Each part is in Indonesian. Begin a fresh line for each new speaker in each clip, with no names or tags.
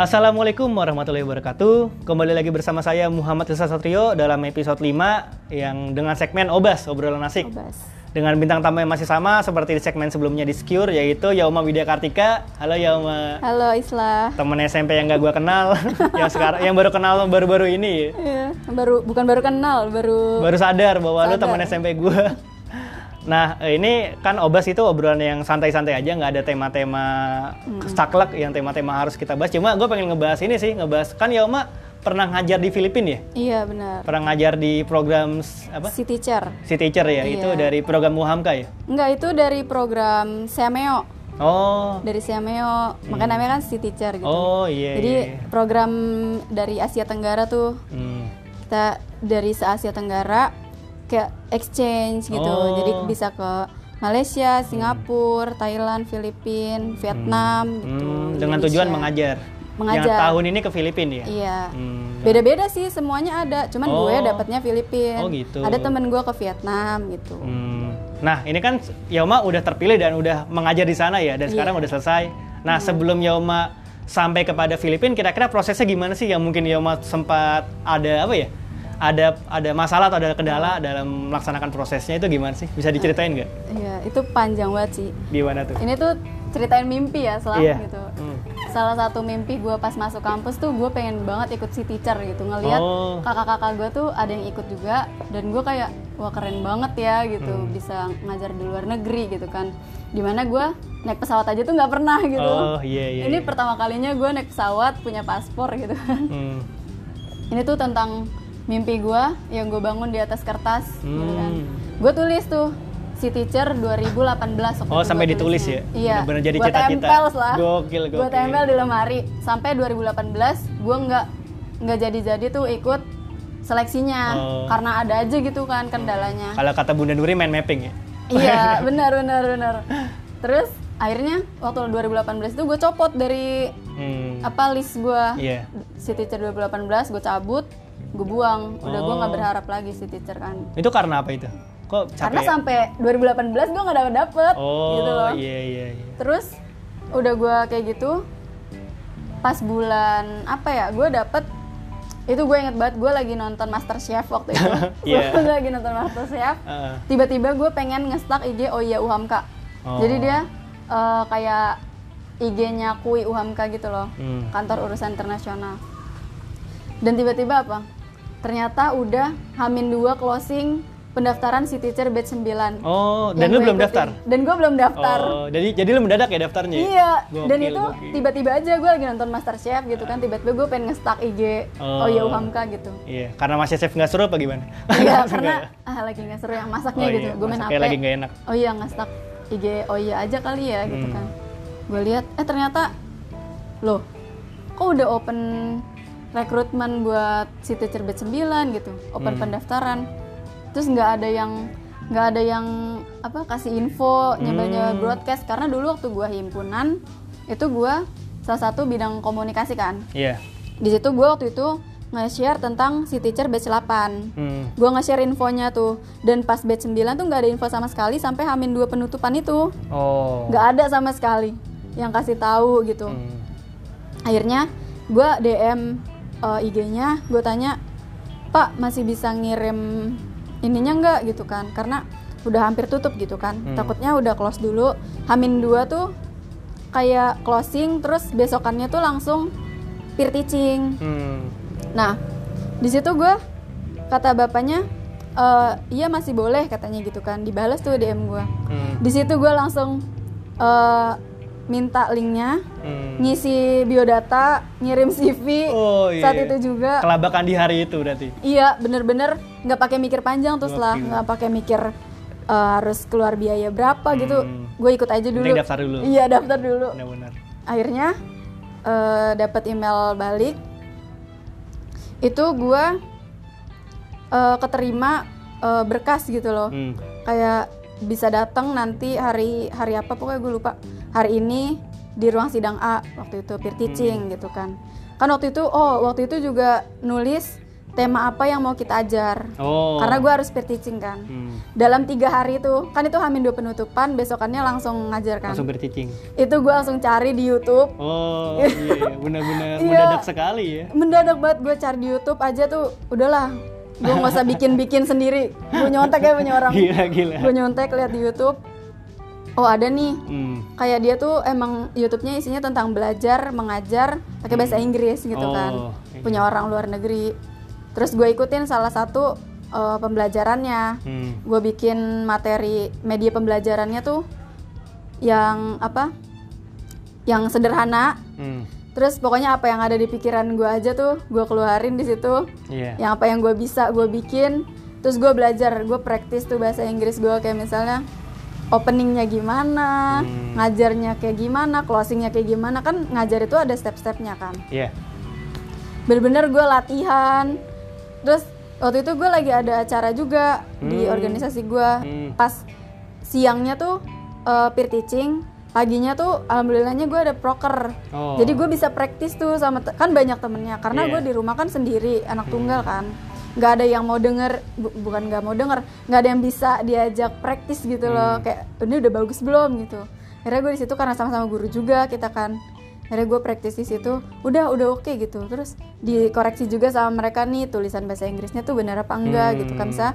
Assalamualaikum warahmatullahi wabarakatuh. Kembali lagi bersama saya Muhammad Isa Satrio dalam episode 5 yang dengan segmen Obas, obrolan asik.
Obas.
Dengan bintang tamu yang masih sama seperti di segmen sebelumnya di Secure yaitu Yauma Widya Kartika. Halo Yauma.
Halo Isla.
Temen SMP yang gak gua kenal, yang sekarang yang baru kenal baru-baru ini.
Iya, baru bukan baru kenal, baru
Baru sadar bahwa lu
Sadar.
temen SMP gua. Nah, ini kan obas itu obrolan yang santai-santai aja, nggak ada tema-tema
Hmm.
staklek yang tema-tema harus kita bahas. Cuma gue pengen ngebahas ini sih, ngebahas kan Yoma pernah ngajar di Filipina ya,
Iya, benar.
pernah ngajar di program s- apa?
Si teacher.
Si teacher ya, itu
Iya.
dari program Muhamka ya.
Enggak, itu dari program Siameo.
Oh, Hmm.
Dari Siameo, makanya namanya kan si teacher gitu.
oh iya.
Jadi
iya, iya.
program dari Asia Tenggara tuh
Hmm.
kita dari se-Asia Tenggara ke exchange gitu.
Oh.
Jadi bisa ke Malaysia, Singapura, Thailand, Filipina, Vietnam gitu.
Hmm, dengan tujuan
Indonesia.
mengajar.
Mengajar.
Yang tahun ini ke Filipina ya.
Iya.
Hmm.
Beda-beda sih semuanya ada, cuman
Oh.
gue dapatnya Filipina.
Oh, gitu.
Ada temen gue ke Vietnam gitu.
Hmm. Nah, ini kan Yoma udah terpilih dan udah mengajar di sana ya, dan
Iya.
sekarang udah selesai. Nah,
Hmm.
sebelum Yoma sampai kepada Filipina, kira-kira prosesnya gimana sih? Yang mungkin Yoma sempat ada apa ya? Ada ada masalah atau ada kendala dalam melaksanakan prosesnya itu gimana sih? Bisa diceritain nggak?
Iya, itu panjang banget sih.
Gimana tuh?
Ini tuh ceritain mimpi ya selama
Iya.
gitu.
Hmm.
Salah satu mimpi gue pas masuk kampus tuh gue pengen banget ikut si teacher gitu ngelihat
Oh.
kakak-kakak gue tuh ada yang ikut juga dan gue kayak wah keren banget ya gitu
Hmm.
bisa ngajar di luar negeri gitu kan dimana gue naik pesawat aja tuh nggak pernah gitu
Oh, iya iya.
ini
iya.
pertama kalinya gue naik pesawat punya paspor gitu kan
Hmm.
ini tuh tentang mimpi gue yang gue bangun di atas kertas gitu kan
Hmm.
gue tulis tuh si teacher 2018 waktu
Oh,
itu
sampai
gua
ditulis
tulisnya.
ya?
iya
Bener-bener jadi
Gua
cita-cita.
tempel lah
Gokil,
gue
gokil.
tempel di lemari sampai 2018 gue nggak nggak jadi-jadi tuh ikut seleksinya
Oh.
karena ada aja gitu kan kendalanya
Kalau kata Bunda Nuri main mapping ya.
iya benar benar benar terus akhirnya waktu 2018 itu gue copot dari
Hmm.
apa list gue
Iya.
si teacher 2018 gue cabut gue buang udah gue nggak
Oh.
berharap lagi si teacher kan
Itu karena apa itu? Kok capek?
karena
ya?
sampai 2018 gue nggak dapet dapet
Oh,
gitu loh
iya iya iya.
terus udah gue kayak gitu pas bulan apa ya gue dapet itu gue inget banget gue lagi nonton Master Chef waktu itu
Iya.
gue lagi nonton Master Chef
Heeh.
tiba-tiba gue pengen ngestak IG oh iya Uhamka
Oh.
jadi dia eh, kayak IG-nya Kui Uhamka gitu loh
Hmm.
kantor urusan internasional dan tiba-tiba apa ternyata udah Hamin 2 closing pendaftaran si teacher batch 9
Oh, dan
Yang
lu
gue
belum
ikutin.
daftar?
dan gue belum daftar
Oh, jadi jadi lu mendadak ya daftarnya? ya?
Iya, dan
Gokil,
itu
gokil.
tiba-tiba aja gue lagi nonton MasterChef gitu kan, tiba-tiba gue pengen nge-stuck IG,
Oh.
oh, ya Uhamka gitu.
Iya, karena masih chef nggak seru apa gimana?
Iya, karena ah, lagi nggak seru yang
ya?
masaknya
Oh
gitu,
iya,
gue main
masaknya
HP.
lagi nggak enak.
Oh iya nge-stuck IG, oh iya aja kali ya gitu
Hmm.
kan. Gue lihat, eh ternyata loh, kok udah open rekrutmen buat si teacher batch 9 gitu, open pendaftaran. Terus nggak ada yang nggak ada yang apa kasih info nyebar-nyebar broadcast karena dulu waktu gua himpunan itu gua salah satu bidang komunikasi kan.
Iya.
Di situ gua waktu itu nge-share tentang si teacher batch 8
Hmm.
gue nge-share infonya tuh dan pas batch 9 tuh nggak ada info sama sekali sampai hamin dua penutupan itu
Oh.
nggak ada sama sekali yang kasih tahu gitu
Hmm.
akhirnya gue dm eh, ig-nya gue tanya pak masih bisa ngirim ininya nggak gitu kan karena udah hampir tutup gitu kan
Hmm.
takutnya udah close dulu hamin dua tuh kayak closing terus besokannya tuh langsung peer teaching
Hmm.
Nah, di situ gue kata bapaknya, "Eh, iya masih boleh katanya gitu kan. Dibales tuh DM gue.
Hmm.
Di situ gue langsung eh, minta linknya,
Hmm.
ngisi biodata, ngirim CV
Oh, iya.
saat itu juga.
Kelabakan di hari itu berarti.
Iya, bener-bener nggak pakai mikir panjang terus lah,
Gokil.
nggak pakai mikir eh, harus keluar biaya berapa gitu.
Hmm.
Gue ikut aja dulu.
Mending daftar dulu. Nah,
Iya daftar dulu.
Benar-benar.
akhirnya eh, dapat email balik itu gua eh, keterima eh, berkas gitu loh
Hmm.
kayak bisa datang nanti hari hari apa pokoknya gue lupa hari ini di ruang sidang
Hmm.
A waktu itu peer teaching gitu kan kan waktu itu oh waktu itu juga nulis tema apa yang mau kita ajar.
Oh.
Karena gue harus speed teaching kan.
Hmm.
Dalam tiga hari itu, kan itu hamin dua penutupan, besokannya langsung ngajar kan.
langsung bercicing.
Itu gue langsung cari di YouTube.
Oh, iya, benar-benar
Iya.
mendadak sekali ya.
Mendadak banget gue cari di YouTube aja tuh, udahlah. Gue nggak usah bikin-bikin sendiri. Gue nyontek ya punya orang.
Gila, gila.
Gue nyontek lihat di YouTube. Oh ada nih.
Hmm.
Kayak dia tuh emang YouTube-nya isinya tentang belajar, mengajar pakai bahasa Inggris gitu
Oh,
kan.
iya.
Punya orang luar negeri. Terus gue ikutin salah satu eh, pembelajarannya.
Hmm.
gue bikin materi media pembelajarannya tuh yang apa yang sederhana
Hmm.
terus pokoknya apa yang ada di pikiran gue aja tuh gue keluarin di situ
Iya.
yang apa yang gue bisa gue bikin terus gue belajar gue praktis tuh bahasa Inggris gue kayak misalnya openingnya gimana
Hmm.
ngajarnya kayak gimana closingnya kayak gimana kan ngajar itu ada step-stepnya kan
Iya.
bener-bener gue latihan terus waktu itu gue lagi ada acara juga di
Hmm.
organisasi gue
Hmm.
pas siangnya tuh eh, peer teaching paginya tuh alhamdulillahnya gue ada proker
Oh.
jadi gue bisa praktis tuh sama te- kan banyak temennya karena
Iya.
gue di rumah kan sendiri anak tunggal kan nggak ada yang mau denger bu- bukan nggak mau denger nggak ada yang bisa diajak praktis gitu loh kayak ini udah bagus belum gitu akhirnya gue di situ karena sama-sama guru juga kita kan akhirnya gue praktis di situ udah udah oke gitu terus dikoreksi juga sama mereka nih tulisan bahasa Inggrisnya tuh benar apa enggak gitu kan bisa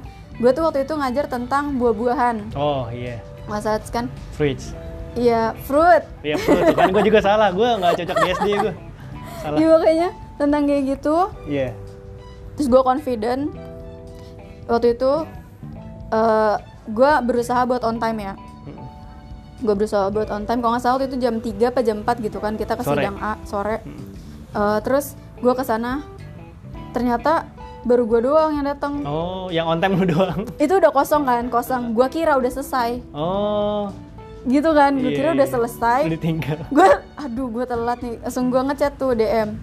gue tuh waktu itu ngajar tentang buah-buahan
Oh, iya.
masa kan
Fridge.
iya fruit
Iya, betul. tuh kan gue juga salah. Gue nggak cocok di SD gue. Salah.
iya kayaknya tentang kayak gitu
Iya.
terus gue confident waktu itu eh gue berusaha buat on time ya gue berusaha buat on time kalau nggak salah waktu itu jam 3 apa jam 4 gitu kan kita ke
Sore. Hmm.
sidang A sore Eh, terus gue ke sana ternyata baru gue doang yang datang
Oh, yang on time lu doang.
itu udah kosong kan kosong gue kira udah selesai
Oh.
gitu kan gue
iya,
kira udah
iya.
selesai
Lu ditinggal.
gue aduh gue telat nih langsung gue ngechat tuh DM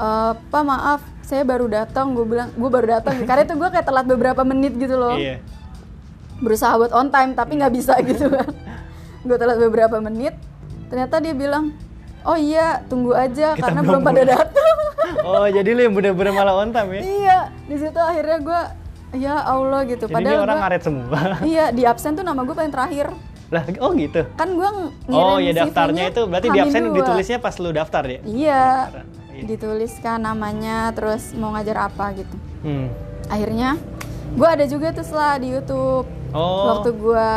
Eh pak maaf saya baru datang gue bilang gue baru datang karena itu gue kayak telat beberapa menit gitu loh
Iya.
berusaha buat on time tapi nggak bisa gitu kan gue telat beberapa menit ternyata dia bilang oh iya tunggu aja
Kita
karena
belum
belum pada
mulai."
datang
Oh, jadi lu yang bener-bener malah on time ya.
iya di situ akhirnya gue ya allah gitu
Jadi ini
padahal
orang
gua-
ngaret semua.
iya di absen tuh nama gue paling terakhir
lah, oh gitu.
kan gue
Oh, ya daftarnya itu berarti di absen ditulisnya pas lu daftar ya.
Iya,
Pendaftaran, iya.
dituliskan namanya, terus mau ngajar apa gitu.
Hmm.
Akhirnya, gue ada juga tuh setelah di YouTube.
Oh.
Waktu gue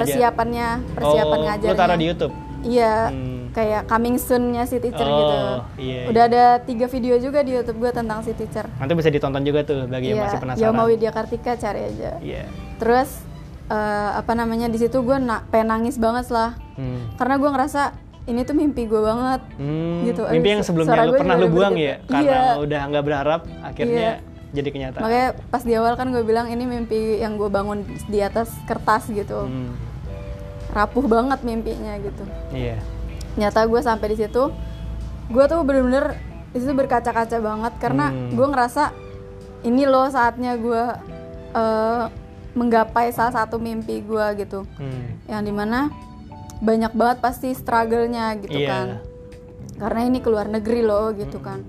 persiapannya, persiapan
oh, Lu
ngajarnya.
taruh di YouTube.
Iya,
Hmm.
kayak coming soon-nya si teacher
Oh,
gitu.
iya, iya.
Udah ada tiga video juga di YouTube gue tentang si teacher.
Nanti bisa ditonton juga tuh bagi yang
Iya,
masih penasaran.
Yoma Widya Kartika cari aja.
Iya.
Terus eh, apa namanya di situ gue na- pengen nangis banget lah,
Hmm.
karena gue ngerasa ini tuh mimpi gue banget.
Hmm,
Gitu,
mimpi
aduh,
yang
su-
sebelumnya lu
suara gua
pernah lu
tiba-tiba
buang
berdetak.
ya karena
Iya.
udah nggak berharap akhirnya jadi kenyataan.
Makanya pas di awal kan gue bilang ini mimpi yang gue bangun di atas kertas gitu.
Hmm,
Rapuh banget mimpinya gitu.
iya.
Nyata gue sampai di situ, gue tuh bener-bener di situ berkaca-kaca banget karena
Hmm.
gue ngerasa ini loh saatnya gue eh, menggapai salah satu mimpi gue gitu.
Hmm.
Yang dimana banyak banget pasti struggle-nya gitu
Iya.
kan. Karena ini keluar negeri loh gitu kan.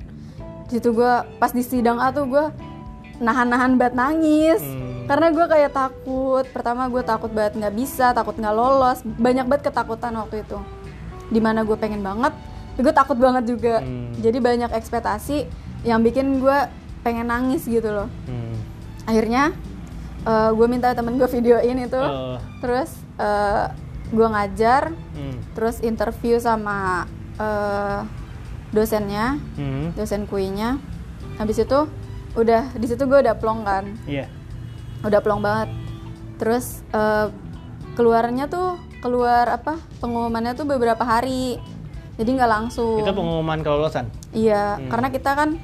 Di situ gue pas di sidang A tuh gue nahan-nahan banget nangis
Hmm.
karena gue kayak takut pertama gue takut banget nggak bisa takut nggak lolos banyak banget ketakutan waktu itu dimana gue pengen banget gue takut banget juga
Hmm.
jadi banyak ekspektasi yang bikin gue pengen nangis gitu loh
Hmm.
akhirnya gue minta temen gue videoin itu
Oh,
terus gue ngajar
hmm,
terus interview sama eh, dosennya
hmm,
dosen kuinya habis itu udah di situ gue udah plong kan
Iya.
udah plong banget terus eh, keluarnya tuh keluar apa pengumumannya tuh beberapa hari jadi nggak langsung
Itu pengumuman kelolosan.
iya
Hmm.
karena kita kan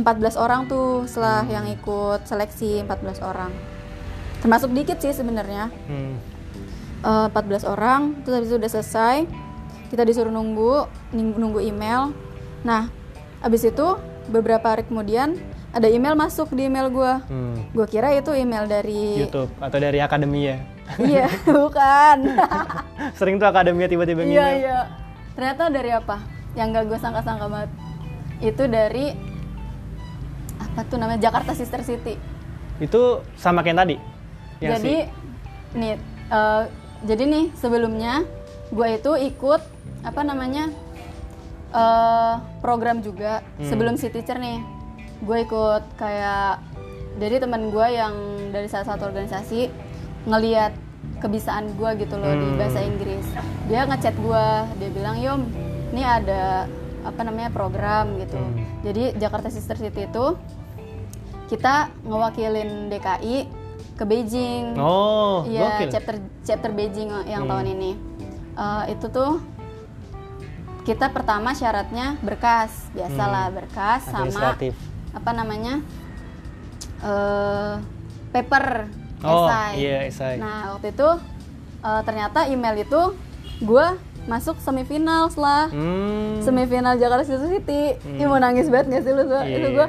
14 orang tuh setelah yang ikut seleksi 14 orang termasuk dikit sih sebenarnya
Hmm.
Eh, 14 orang terus habis itu udah selesai kita disuruh nunggu ning- nunggu email nah habis itu beberapa hari kemudian ada email masuk di email gua
Hmm.
gue kira itu email dari
YouTube atau dari akademia.
iya bukan
Sering tuh akademia tiba-tiba
iya
ngini.
iya ternyata dari apa yang gak gue sangka-sangka banget itu dari apa tuh namanya Jakarta Sister City.
Itu sama kayak yang tadi. Yang
jadi
si-
nih eh, jadi nih sebelumnya gue itu ikut apa namanya eh, program juga sebelum si teacher nih gue ikut kayak jadi teman gue yang dari salah satu organisasi ngeliat kebisaan gue gitu loh di bahasa Inggris dia ngechat gue dia bilang yom ini ada apa namanya program gitu jadi Jakarta Sister City itu kita ngewakilin DKI ke Beijing
Oh, gokil.
Iya,
Hmm.
chapter chapter Beijing yang tahun ini. Eh, itu tuh kita pertama syaratnya berkas, biasalah berkas
Hmm.
sama
Administratif.
apa namanya? eh paper
Oh,
esai.
iya, esai.
Nah, waktu itu eh, ternyata email itu gua masuk semifinal lah.
Hmm,
Semifinal Jakarta Sister City. Ih, mau nangis banget gak sih lu? Gua-
Iya.
Itu gua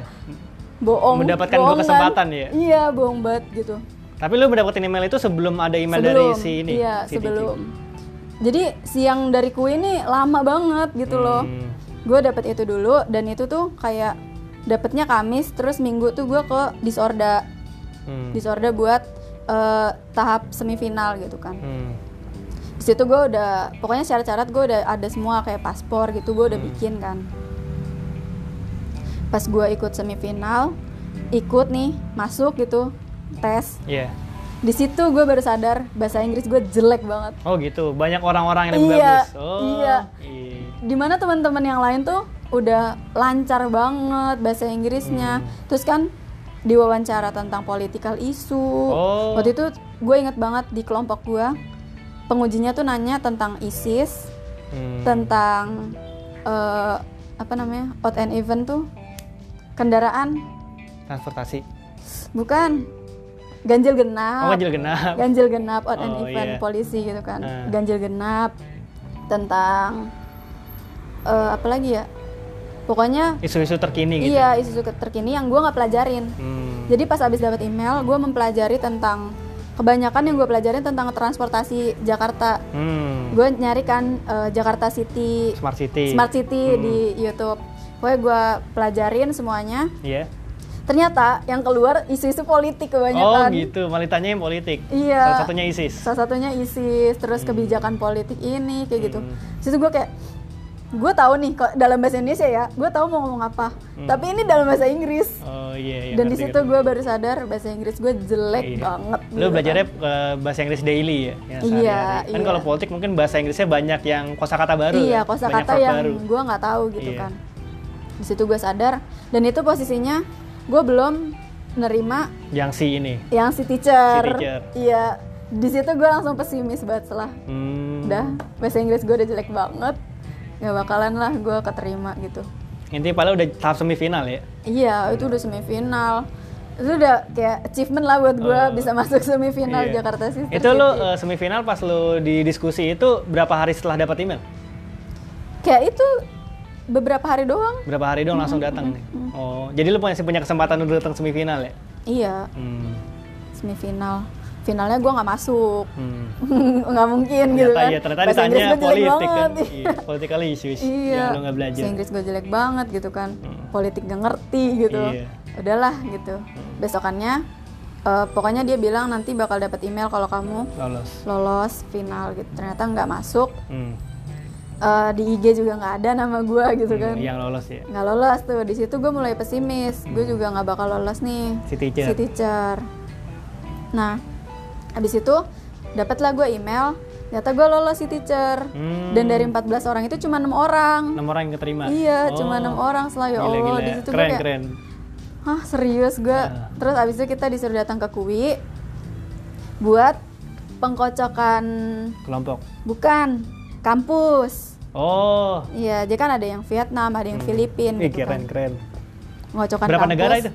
bohong.
Mendapatkan dua
bohong kan?
kesempatan ya?
Iya, bohong banget gitu
tapi lu mendapatkan email itu sebelum ada email dari si ini.
iya
si Titi.
sebelum jadi siang dari kui ini lama banget gitu loh
Hmm.
gue dapet itu dulu dan itu tuh kayak dapetnya Kamis terus Minggu tuh gue ke disorda
Hmm.
disorda buat eh, tahap semifinal gitu kan
Hmm.
di situ gue udah pokoknya syarat-syarat gue udah ada semua kayak paspor gitu gue
Hmm.
udah bikin kan pas gue ikut semifinal ikut nih masuk gitu tes
Iya.
di situ gue baru sadar bahasa Inggris gue jelek banget
Oh gitu, banyak orang-orang yang lebih
Iya,
bagus. Oh,
iya.
iya.
dimana teman-teman yang lain tuh udah lancar banget bahasa
Hmm.
Inggrisnya terus kan diwawancara tentang political issue
Oh.
waktu itu gue inget banget di kelompok gue pengujinya tuh nanya tentang ISIS
Hmm.
tentang eh, apa namanya out and event tuh kendaraan
Transportasi.
bukan
Oh,
ganjil genap
ganjil genap.
ganjil genap out and
Oh,
event
iya.
polisi gitu kan
Ah.
ganjil genap tentang eh, apa lagi ya pokoknya
Isu-isu terkini gitu.
iya isu terkini yang gue nggak pelajarin
Hmm.
jadi pas abis dapat email gue mempelajari tentang kebanyakan yang gue pelajarin tentang transportasi Jakarta
Hmm.
gue nyarikan eh, Jakarta City
Smart City. Hmm.
Smart City di YouTube pokoknya gue pelajarin semuanya
Iya.
ternyata yang keluar isu-isu politik
Oh,
kebanyakan
gitu. Malah ditanyain politik.
Iya.
Salah satunya ISIS.
salah satunya ISIS terus
Hmm.
kebijakan politik ini kayak gitu situ gue kayak gue tahu nih kok dalam bahasa Indonesia ya gue tahu mau ngomong apa tapi ini dalam bahasa Inggris
Oh, Hmm. iya, iya.
dan di
ngerti,
situ
ngerti.
gue baru sadar bahasa Inggris gue jelek
Iya.
banget
Lu
gitu
belajarnya
kan.
eh, bahasa Inggris daily ya? yang
Iya,
sehari-hari. Kan
iya.
kalau politik mungkin bahasa Inggrisnya banyak yang kosakata baru.
iya
kan? Banyak
kosakata
verb
yang
baru.
gue nggak tahu gitu
Iya.
kan di situ gue sadar dan itu posisinya gue belum nerima
Yang si ini.
yang si teacher,
Si teacher.
iya di situ gue langsung pesimis banget setelah
Hmm.
udah bahasa Inggris gue udah jelek banget nggak bakalan lah gue keterima gitu
Intinya paling udah tahap semifinal ya.
iya itu udah semifinal itu udah kayak achievement lah buat gue
Oh.
bisa masuk semifinal
Iya.
Jakarta Sister
Itu lu
City.
eh, semifinal pas lu di diskusi itu berapa hari setelah dapat email?
kayak itu beberapa hari doang
Berapa hari dong langsung datang nih? Oh, jadi lu masih punya kesempatan untuk datang semifinal ya?
iya
Hmm.
semifinal finalnya gue nggak masuk
hmm.
nggak mungkin gitu
Ternyata
kan
iya, ternyata
Bahasa
ditanya
Inggris gua jelek
politik kan.
banget.
Iya, political issues.
iya
Yang Ya, lu nggak belajar. Hmm.
bahasa Inggris gue jelek banget gitu kan politik gak ngerti gitu
Iya. Hmm.
udahlah gitu besokannya eh, pokoknya dia bilang nanti bakal dapat email kalau kamu
Lolos.
lolos final gitu ternyata nggak masuk
Hmm.
Eh, di IG juga nggak ada nama gue gitu
Hmm,
kan
Yang lolos ya.
nggak lolos tuh di situ gue mulai pesimis gue juga nggak bakal lolos nih
Hmm. Si teacher.
si teacher nah habis itu dapatlah gue email ternyata gue lolos si teacher
Hmm.
dan dari 14 orang itu cuma enam orang
Enam orang yang keterima.
Iya,
Oh.
cuma enam orang setelah ya Allah
Gila-gila.
di situ gue
Keren,
kayak,
keren.
hah serius gue.
Ah.
Terus abis itu kita disuruh datang ke Kui buat pengkocokan
Kelompok.
bukan kampus.
Oh.
Iya, jadi kan ada yang Vietnam, ada yang Filipina
Hmm. Ih,
gitu
keren,
kan.
keren.
Ngocokan
Berapa
kampus.
negara itu?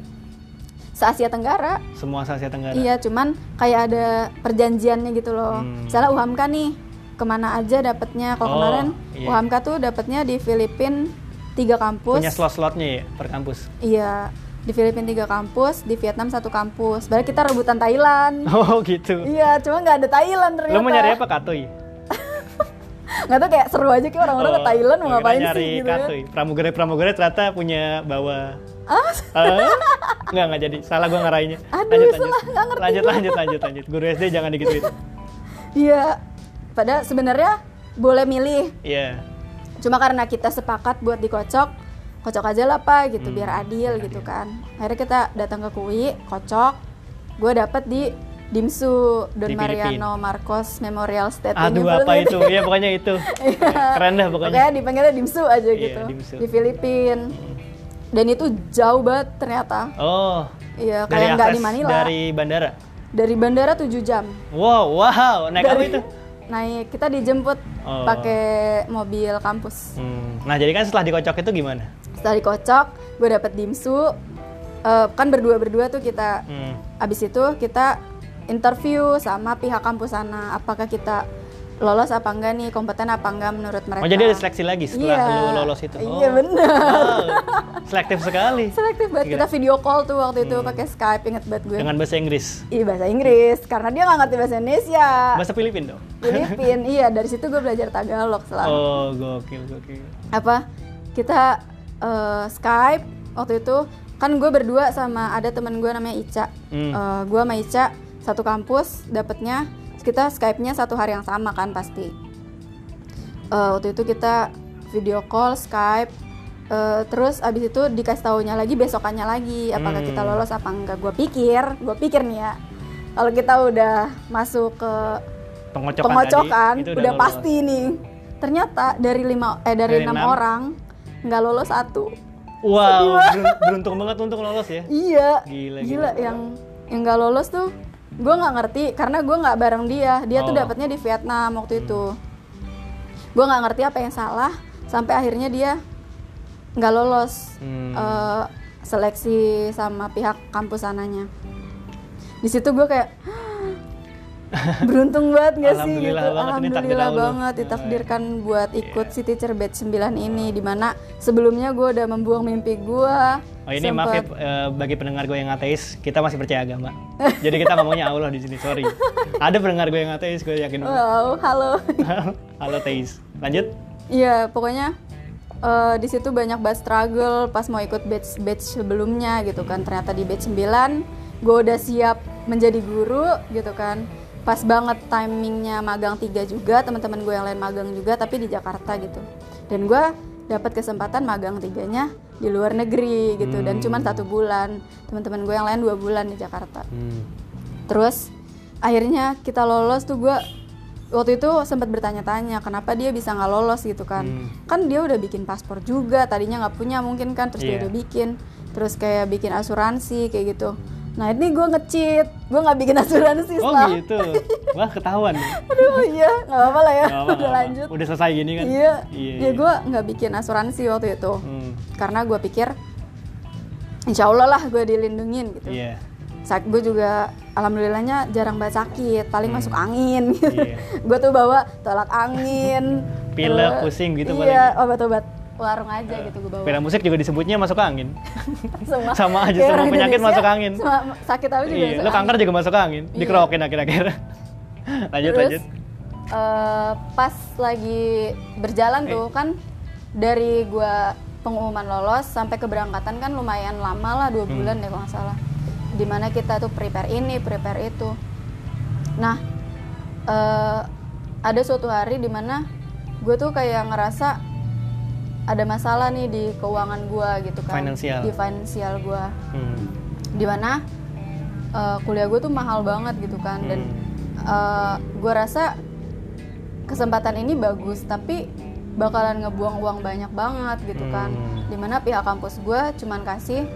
Se Asia Tenggara.
Semua se Asia Tenggara.
Iya, cuman kayak ada perjanjiannya gitu loh.
Hmm.
Misalnya UHAMKA nih kemana aja dapatnya. Kalau
Oh,
kemarin
iya.
UHAMKA tuh dapatnya di Filipina tiga kampus.
Punya slot-slotnya ya per kampus.
Iya, di Filipina tiga kampus, di Vietnam satu kampus. Berarti kita rebutan Thailand.
Oh, gitu.
iya, cuma nggak ada Thailand ternyata.
Lu mau nyari apa, Katui?
nggak tahu kayak seru aja kayak orang-orang ke
Oh,
Thailand mau
akhirnya
ngapain
nyari
sih gitu kan.
kartu. Pramugari-pramugari ternyata punya bawa
Ah,
Eh, Enggak, enggak jadi. Salah gua ngarahinnya.
Aduh, salah, nggak ngerti
Lanjut,
gua.
lanjut, lanjut, lanjut. Guru SD jangan digituin.
Iya. Padahal sebenarnya boleh milih.
Iya.
Cuma karena kita sepakat buat dikocok, kocok aja lah pak
Hmm,
gitu biar adil gitu kan. Akhirnya kita datang ke Kui, kocok. Gue dapet di Dimsu Don
Di Filipina.
Mariano Marcos Memorial Statue
Aduh,
Universe
apa itu?
gitu.
Iya, pokoknya itu.
Iya.
Keren dah Nah, pokoknya.
Pokoknya dipanggilnya Dimsu aja
Iya,
gitu.
Dimsu.
Di Filipin. Dan itu jauh banget ternyata.
Oh.
Iya,
Dari
kayak nggak
akses
di Manila.
dari bandara.
Dari bandara 7 jam.
Wow, wow. Naik apa
Dari-
itu?
Naik kita dijemput
Oh.
pakai mobil kampus.
Hmm. Nah, jadi kan setelah dikocok itu gimana?
Setelah dikocok, gue dapet dimsu. Eh, kan berdua-berdua tuh kita.
Hmm.
Abis itu kita interview sama pihak kampus sana. Apakah kita lolos apa enggak nih, kompeten apa enggak menurut mereka.
Oh, jadi ada seleksi lagi setelah
Iya.
lu lolos itu. Oh.
Iya, benar.
Wow. Selektif sekali.
Selektif banget.
Gila. Hmm.
Kita video call tuh waktu itu pakai Skype, inget banget gue.
Dengan bahasa Inggris.
Iya bahasa Inggris, karena dia nggak ngerti bahasa Indonesia.
Bahasa Filipin dong.
Filipin, iya dari situ gue belajar Tagalog selama
Oh, gokil, gokil.
apa kita eh, Skype waktu itu kan gue berdua sama ada teman gue namanya Ica
Hmm.
Eh, gue sama Ica satu kampus dapetnya terus kita Skype-nya satu hari yang sama kan pasti Eh, waktu itu kita video call Skype Eh, terus abis itu dikasih taunya lagi besokannya lagi apakah
Hmm.
kita lolos apa enggak gue pikir gue pikir nih ya kalau kita udah masuk ke
Pengocokan,
pengocokan
tadi, itu
udah,
lolos.
pasti nih ternyata dari lima eh dari,
Dari
enam
enam.
orang nggak lolos satu
Wow, berun- beruntung banget untuk lolos ya.
iya
Gila,
gila,
gila.
yang yang nggak lolos tuh gue nggak ngerti karena gue nggak bareng dia dia tuh
Oh.
dapatnya di Vietnam waktu itu gue nggak ngerti apa yang salah sampai akhirnya dia nggak lolos
Hmm.
eh, seleksi sama pihak kampus sananya di situ gue kayak beruntung banget gak sih gitu
Alhamdulillah banget, ini takdir
alhamdulillah
Allah. Iya.
banget ditakdirkan buat ikut si teacher batch 9 ini dimana sebelumnya gue udah membuang mimpi gue
Oh ini maaf ya eh, bagi pendengar gue yang ateis, kita masih percaya agama. Jadi kita ngomongnya Allah di sini, sorry. Ada pendengar gue yang ateis, gue yakin. banget.
wow halo
Halo teis. Lanjut.
Iya, pokoknya eh, di situ banyak banget struggle pas mau ikut batch batch sebelumnya gitu kan. Ternyata di batch 9 gue udah siap menjadi guru gitu kan. Pas banget timingnya magang 3 juga, teman-teman gue yang lain magang juga tapi di Jakarta gitu. Dan gue dapat kesempatan magang tiganya di luar negeri gitu dan cuman satu bulan. Teman-teman gue yang lain dua bulan di Jakarta. Terus akhirnya kita lolos tuh gue waktu itu sempat bertanya-tanya kenapa dia bisa nggak lolos gitu kan?
Hmm.
Kan dia udah bikin paspor juga tadinya nggak punya mungkin kan terus
Iya. Hmm.
dia udah bikin terus kayak bikin asuransi kayak gitu. Nah ini gue ngecit gue nggak bikin asuransi
Oh
setelah.
gitu. Wah ketahuan.
Aduh iya nggak apa-apa lah ya
Gak apa-apa,
udah
gak apa-apa.
lanjut.
Udah selesai gini kan?
Iya,
Iya.
ya gue nggak bikin asuransi waktu itu
Hmm,
karena gue pikir Insya Allah lah gue dilindungin gitu.
Iya.
Saat gue juga alhamdulillahnya jarang banget sakit, paling masuk angin.
Hmm. Iya.
gue tuh bawa tolak angin,
Pilek,
terus-
pusing gitu Iya.
Iya, obat-obat warung aja gitu gue bawa.
Pilihan musik juga disebutnya masuk angin.
Semua,
sama aja,
kayak
semua
orang
penyakit
Indonesia,
masuk angin.
Semua sakit apa juga
iya.
masuk
Lo kanker juga masuk angin.
Iya.
Dikerokin akhir-akhir. lanjut,
Terus,
lanjut.
eh, pas lagi berjalan tuh kan dari gua pengumuman lolos sampai keberangkatan kan lumayan lama lah dua
Hmm.
bulan deh kalau nggak salah. Dimana kita tuh prepare ini, prepare itu. Nah, eh, ada suatu hari dimana gue tuh kayak ngerasa ada masalah nih di keuangan gua gitu kan,
Finansial.
di finansial gua
Hmm.
dimana uh, kuliah gue tuh mahal banget gitu kan dan
Hmm.
eh, gue rasa kesempatan ini bagus tapi bakalan ngebuang uang banyak banget gitu kan
Hmm.
dimana pihak kampus gue cuman kasih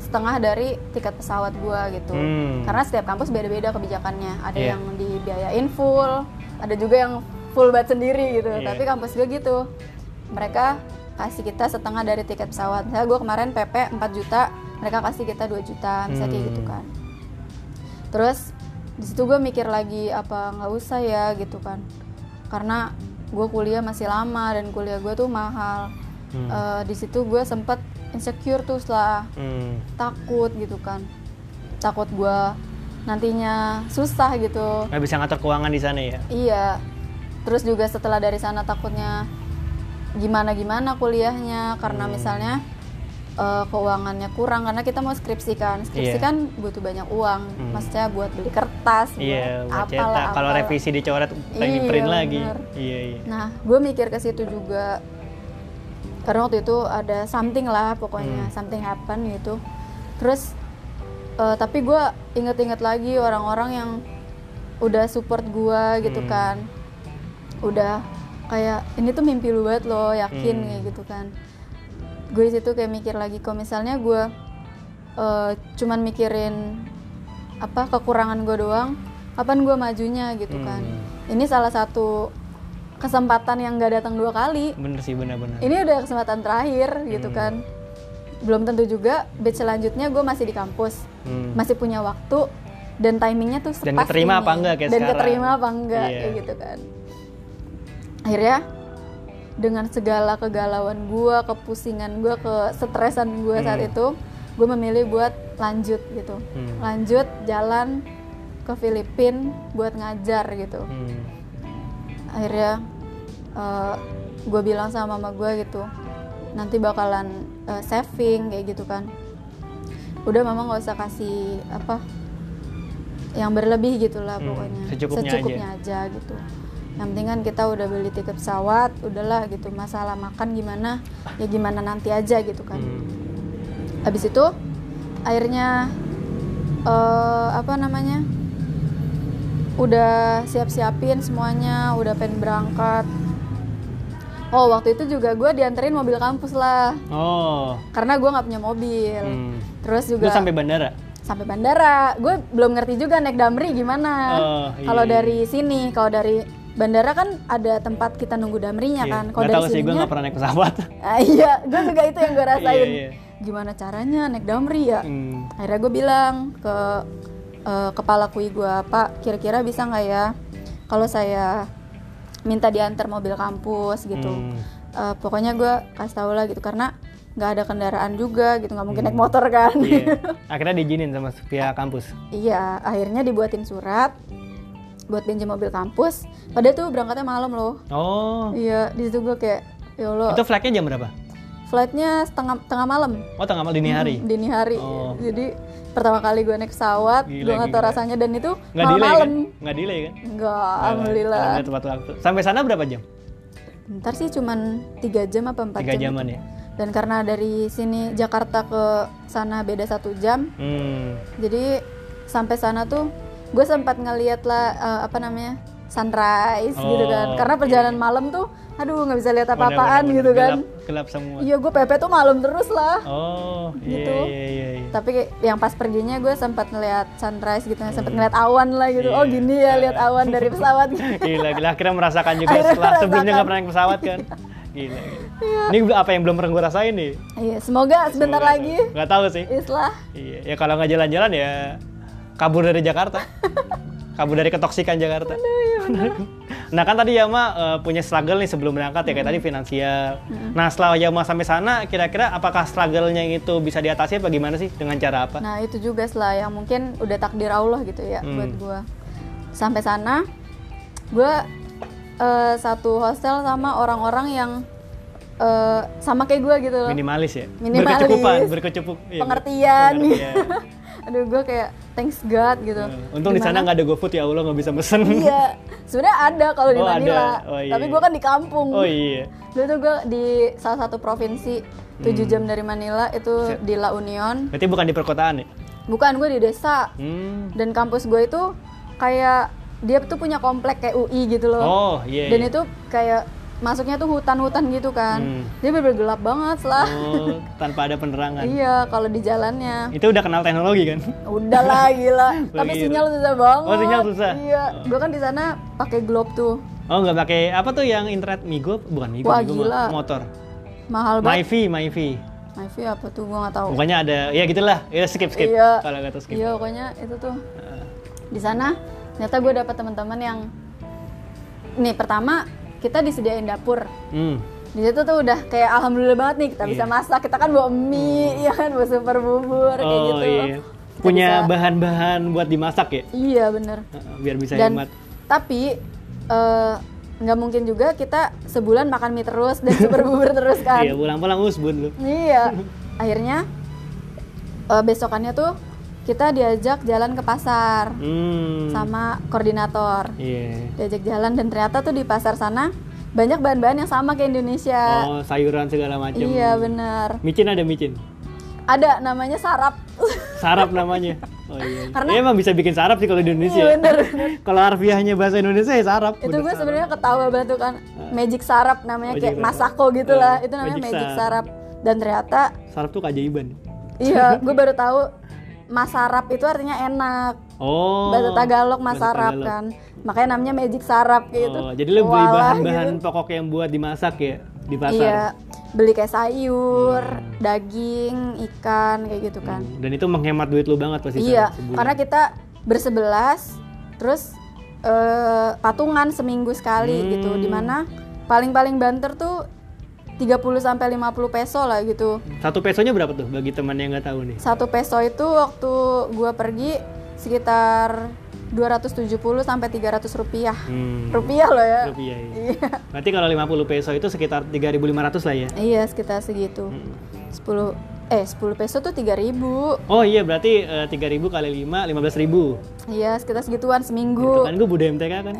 setengah dari tiket pesawat gue gitu
Hmm.
karena setiap kampus beda-beda kebijakannya ada
Iya.
yang dibiayain full ada juga yang full banget sendiri gitu
Iya.
tapi kampus gue gitu mereka kasih kita setengah dari tiket pesawat misalnya gue kemarin PP 4 juta mereka kasih kita 2 juta misalnya kayak gitu
Hmm.
kan terus di situ gue mikir lagi apa nggak usah ya gitu kan karena gue kuliah masih lama dan kuliah gue tuh mahal
Hmm.
Eh, di situ gue sempet insecure tuh setelah
Hmm.
takut gitu kan takut gue nantinya susah gitu
Nggak bisa ngatur keuangan di sana ya?
iya terus juga setelah dari sana takutnya gimana gimana
Hmm.
kuliahnya karena misalnya eh, keuangannya kurang karena kita mau skripsikan
Iya.
skripsi kan butuh banyak uang
Hmm.
maksudnya buat beli kertas
Iya, buat
buat
cetak. Kalau
apalah.
revisi dicoret,
Iya,
pengen print lagi.
bener.
Iya, iya.
Nah, gue mikir ke situ juga karena waktu itu ada something lah
Hmm.
pokoknya something happen gitu. Terus eh, tapi gue inget-inget lagi orang-orang yang udah support gue gitu
Hmm.
kan, udah kayak ini tuh mimpi lu banget loh yakin
Hmm.
kayak gitu kan. Gue situ kayak mikir lagi kalau misalnya gue eh, cuman mikirin apa kekurangan gue doang, kapan gue majunya gitu
Hmm.
kan. Ini salah satu kesempatan yang gak datang dua kali.
Bener sih, bener-bener.
Ini udah kesempatan terakhir gitu
Hmm.
kan. Belum tentu juga batch selanjutnya gue masih di kampus,
Hmm.
masih punya waktu dan timingnya tuh
Dan
sepas
keterima
ini.
apa enggak kayak
dan
sekarang.
keterima apa enggak
Iya.
kayak gitu kan. Akhirnya dengan segala kegalauan gue, kepusingan gue, kesetresan gue saat
Hmm.
itu, gue memilih buat lanjut gitu,
Hmm.
lanjut jalan ke Filipina buat ngajar gitu
Hmm.
akhirnya gue bilang sama mama gue gitu nanti bakalan eh, saving kayak gitu kan udah mama nggak usah kasih apa yang berlebih gitulah
Hmm,
pokoknya
secukupnya
aja. gitu yang penting kan kita udah beli tiket pesawat udahlah gitu masalah makan gimana ya gimana nanti aja gitu kan
Hmm.
habis itu akhirnya eh, apa namanya udah siap-siapin semuanya udah pengen berangkat oh waktu itu juga gue dianterin mobil kampus lah
Oh.
karena gue nggak punya mobil
Hmm.
terus
Lu
Iya. juga
sampai bandara?
sampai bandara gue belum ngerti juga naik damri gimana
Oh, iya,
kalau
iya.
dari sini kalau dari bandara kan ada tempat kita nunggu damrinya
Gak
kan kalau dari
Iya. tahu sih, gue
sininya-
gak pernah naik pesawat.
Ah, iya gue juga itu yang gue rasain
Iya, iya.
gimana caranya naik damri ya
Hmm.
akhirnya gue bilang ke eh, kepala kui gue pak kira-kira bisa nggak ya kalau saya minta diantar mobil kampus gitu
Hmm.
Eh, pokoknya gue kasih tau lah gitu karena nggak ada kendaraan juga gitu nggak mungkin naik motor kan
Iya. Akhirnya diizinin sama pihak kampus.
iya akhirnya dibuatin surat buat pinjam mobil kampus padahal tuh berangkatnya malam loh
Oh.
iya di situ gue kayak ya allah
Itu flagnya jam berapa?
flightnya setengah tengah malam
Oh, tengah malam dini hari.
Hmm, dini hari.
Oh.
Jadi pertama kali gue naik pesawat,
Gila,
gue nggak tahu
gila.
rasanya dan itu
Nggak delay kan?
malam-malam.
Nggak delay kan?
Enggak, alhamdulillah.
Alhamdulillah, tepat waktu. Sampai sana berapa jam?
Bentar sih cuman tiga jam apa empat
Tiga
jam.
jaman ya.
Dan karena dari sini Jakarta ke sana beda satu jam,
Hmm.
jadi sampai sana tuh gue sempat ngeliat lah eh, apa namanya sunrise gitu
Oh,
kan. Karena
iya.
perjalanan malam tuh, aduh nggak bisa lihat apa-apaan
Bener-bener,
gitu kan.
Gelap, gelap semua.
Iya gue pepe tuh malam terus lah.
Oh, iya,
Gitu.
iya, iya, iya.
tapi yang pas perginya gue sempat ngeliat sunrise gitu sempat ngeliat awan lah gitu
Hmm. Iya.
oh gini ya lihat awan dari pesawat gitu.
Gila, gila. Akhirnya merasakan juga
Akhirnya
setelah sebelumnya
merasakan.
nggak pernah naik pesawat kan. Gila. gila. Ini apa yang belum pernah gue rasain nih?
iya semoga sebentar lagi
Nggak tahu sih.
islah
Iya. Ya kalau nggak jalan-jalan ya kabur dari Jakarta. kabur dari ketoksikan Jakarta.
iya
nah kan tadi Yama eh, punya struggle nih sebelum berangkat ya kayak tadi finansial. Nah setelah Yama sampai sana kira-kira apakah struggle-nya itu bisa diatasi apa gimana sih dengan cara apa?
nah itu juga lah yang mungkin udah takdir Allah gitu ya
Hmm.
buat gue sampai sana gue eh, satu hostel sama orang-orang yang eh, sama kayak gue gitu loh
Minimalis ya.
Minimalis.
Berkecukupan, berkecupuk. Iya, ber-
pengertian gitu.
pengertian.
aduh gue kayak thanks God gitu
Eh, Untung di
Gimana
sana nggak ada GoFood ya Allah nggak bisa mesen.
iya sebenarnya ada kalau di
Oh, ada.
Manila
Oh, iya.
tapi gue kan di kampung
Oh iya.
dulu tuh gue di salah satu provinsi 7 jam
Hmm.
dari Manila itu di La Union
Berarti bukan di perkotaan ya?
bukan gue di desa
Hmm.
dan kampus gue itu kayak dia tuh punya komplek kayak UI gitu loh
Oh iya.
dan
iya.
itu kayak masuknya tuh hutan-hutan gitu kan
Hmm.
dia bener gelap banget lah
Oh, tanpa ada penerangan.
iya kalau di jalannya
Itu udah kenal teknologi kan?
udahlah gila tapi
Lagi-
sinyal susah banget
iya. Oh, sinyal susah?
iya gue kan di sana pakai globe tuh
Oh nggak pakai apa tuh yang internet Migo? Bukan Migo,
Wah,
Migo mah
gila.
motor.
mahal banget
Myvi, Myvi.
wifi apa tuh gue nggak tahu
Bukannya ada, ya gitulah. Ya skip skip.
Iya.
Kalau kata skip. Ah.
Iya, pokoknya itu tuh. Di sana ternyata gue dapat teman-teman yang nih pertama kita disediain dapur.
Hmm.
Di situ tuh udah kayak alhamdulillah banget nih
Iya.
kita bisa masak. Kita kan bawa mie, ya kan bawa super bubur kayak
Hmm. Oh
gitu.
iya.
Kita
Punya
bisa-
bahan-bahan buat dimasak ya?
Iya, bener.
Heeh, Biar bisa
Dan
hemat.
tapi eh, nggak mungkin juga kita sebulan makan mie terus dan super bubur terus kan.
Iya, pulang-pulang usbun lu.
Iya. Akhirnya eh, besokannya tuh kita diajak jalan ke pasar
Hmm.
sama koordinator.
Iya.
Diajak jalan dan ternyata tuh di pasar sana banyak bahan-bahan yang sama kayak Indonesia.
Oh, sayuran segala macam.
iya benar.
Micin ada micin.
Ada namanya sarap.
Sarap namanya. Oh iya.
Karena-
Ya, emang bisa bikin sarap sih kalau di Indonesia. ya?
Iya benar.
Kalau harfiahnya bahasa Indonesia ya sarap. bener
itu gue
sarap. Nah.
sebenarnya ketawa banget tuh kan magic sarap namanya
Magic
kayak
sarap.
masako gitulah
Eh,
itu namanya
magic
magic,
sarap.
sarap. dan ternyata
sarap tuh keajaiban.
iya gue baru tahu masarap itu artinya enak
Oh.
bahasa tagalog
bahasa
masarap
Tagalog.
kan makanya namanya magic sarap kayak gitu
Oh, jadi lo beli
Walah,
bahan-bahan
gitu.
pokok yang buat dimasak ya di
iya
pasar.
beli kayak sayur daging ikan kayak gitu kan
Hmm, Dan itu menghemat duit lo banget pasti.
iya
Sarah, sebulan.
karena kita bersebelas terus eh, patungan seminggu sekali
Hmm.
gitu dimana paling-paling banter tuh 30 sampai 50 peso lah gitu
satu pesonya berapa tuh bagi teman yang nggak tahu nih?
satu peso itu waktu gua pergi sekitar 270 sampai 300 rupiah
Hmm,
rupiah loh ya
rupiah, iya.
iya
Berarti kalau 50 peso itu sekitar 3.500 lah ya.
iya sekitar segitu
Hmm.
10 eh 10 peso tuh 3000
Oh iya berarti eh, 3.000 kali 5 15.000.
iya sekitar segituan
Gitu
seminggu
kan gue budaya MTK kan.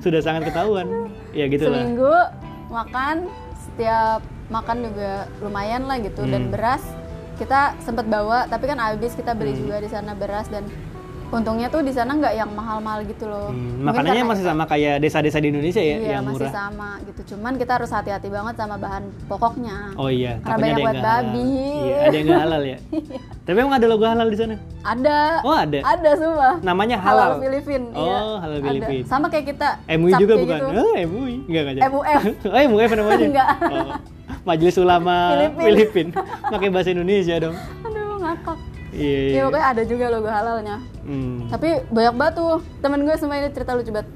Sudah sangat ketahuan. Ya gitulah.
seminggu makan setiap makan juga lumayan lah gitu
Hmm.
dan beras kita sempet bawa tapi kan habis kita
Hmm.
beli juga di sana beras dan untungnya tuh di sana nggak yang mahal-mahal gitu loh
Hmm,
Mungkin
makanannya
karena-
masih sama kayak desa-desa di Indonesia ya
iya
yang
masih
murah.
sama gitu cuman kita harus hati-hati banget sama bahan pokoknya
Oh iya,
Karena
takutnya ada yang nggak
banyak buat
halal.
babi.
Iya, ada yang nggak halal ya. Tapi emang ada logo halal di sana.
ada
Oh, ada.
ada semua
Namanya
halal,
halal.
Filipin
Oh,
iya,
halal
ada.
Filipin.
sama kayak kita
MUI
cap
juga
kayak
bukan?
gitu.
Oh, MUI. Enggak enggak. jadi.
MUF.
oh, MUF namanya.
Enggak.
Oh, Majelis Ulama
Filipin.
Filipin. Pakai bahasa Indonesia dong.
aduh ngakak
Iya.
Iya
iya.
pokoknya ada juga logo halalnya
Hmm.
tapi banyak banget tuh temen gue semua ini cerita lucu banget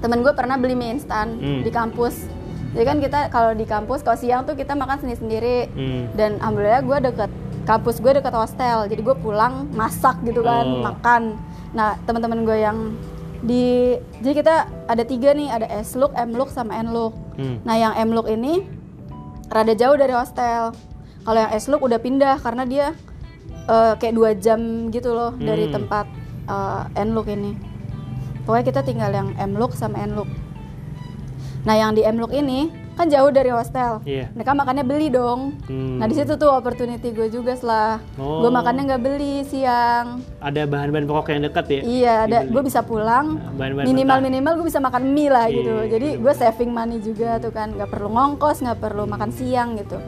temen gue pernah beli mie instan
Hmm.
di kampus jadi kan kita kalau di kampus kalau siang tuh kita makan sendiri sendiri
Hmm.
dan alhamdulillah gue deket kampus gue deket hostel jadi gue pulang masak gitu kan
Oh.
makan nah teman-teman gue yang di jadi kita ada tiga nih ada S look M look sama N look
Hmm.
nah yang M look ini rada jauh dari hostel kalau yang S look udah pindah karena dia eh, kayak dua jam gitu loh dari
Hmm.
tempat eh, N look ini pokoknya kita tinggal yang M look sama N look nah yang di M look ini kan jauh dari hostel
Iya.
mereka makannya beli dong
Hmm.
Nah di situ tuh opportunity gue juga setelah
Oh.
gue makannya nggak beli siang.
Ada bahan-bahan pokok yang dekat ya.
Iya, ada
Dibeli.
gue bisa pulang
Nah, bahan-bahan
minimal
mentah.
minimal gue bisa makan mie lah
Iya,
gitu.
iya,
Jadi gue saving money juga tuh kan, nggak perlu ngongkos, nggak perlu makan siang gitu.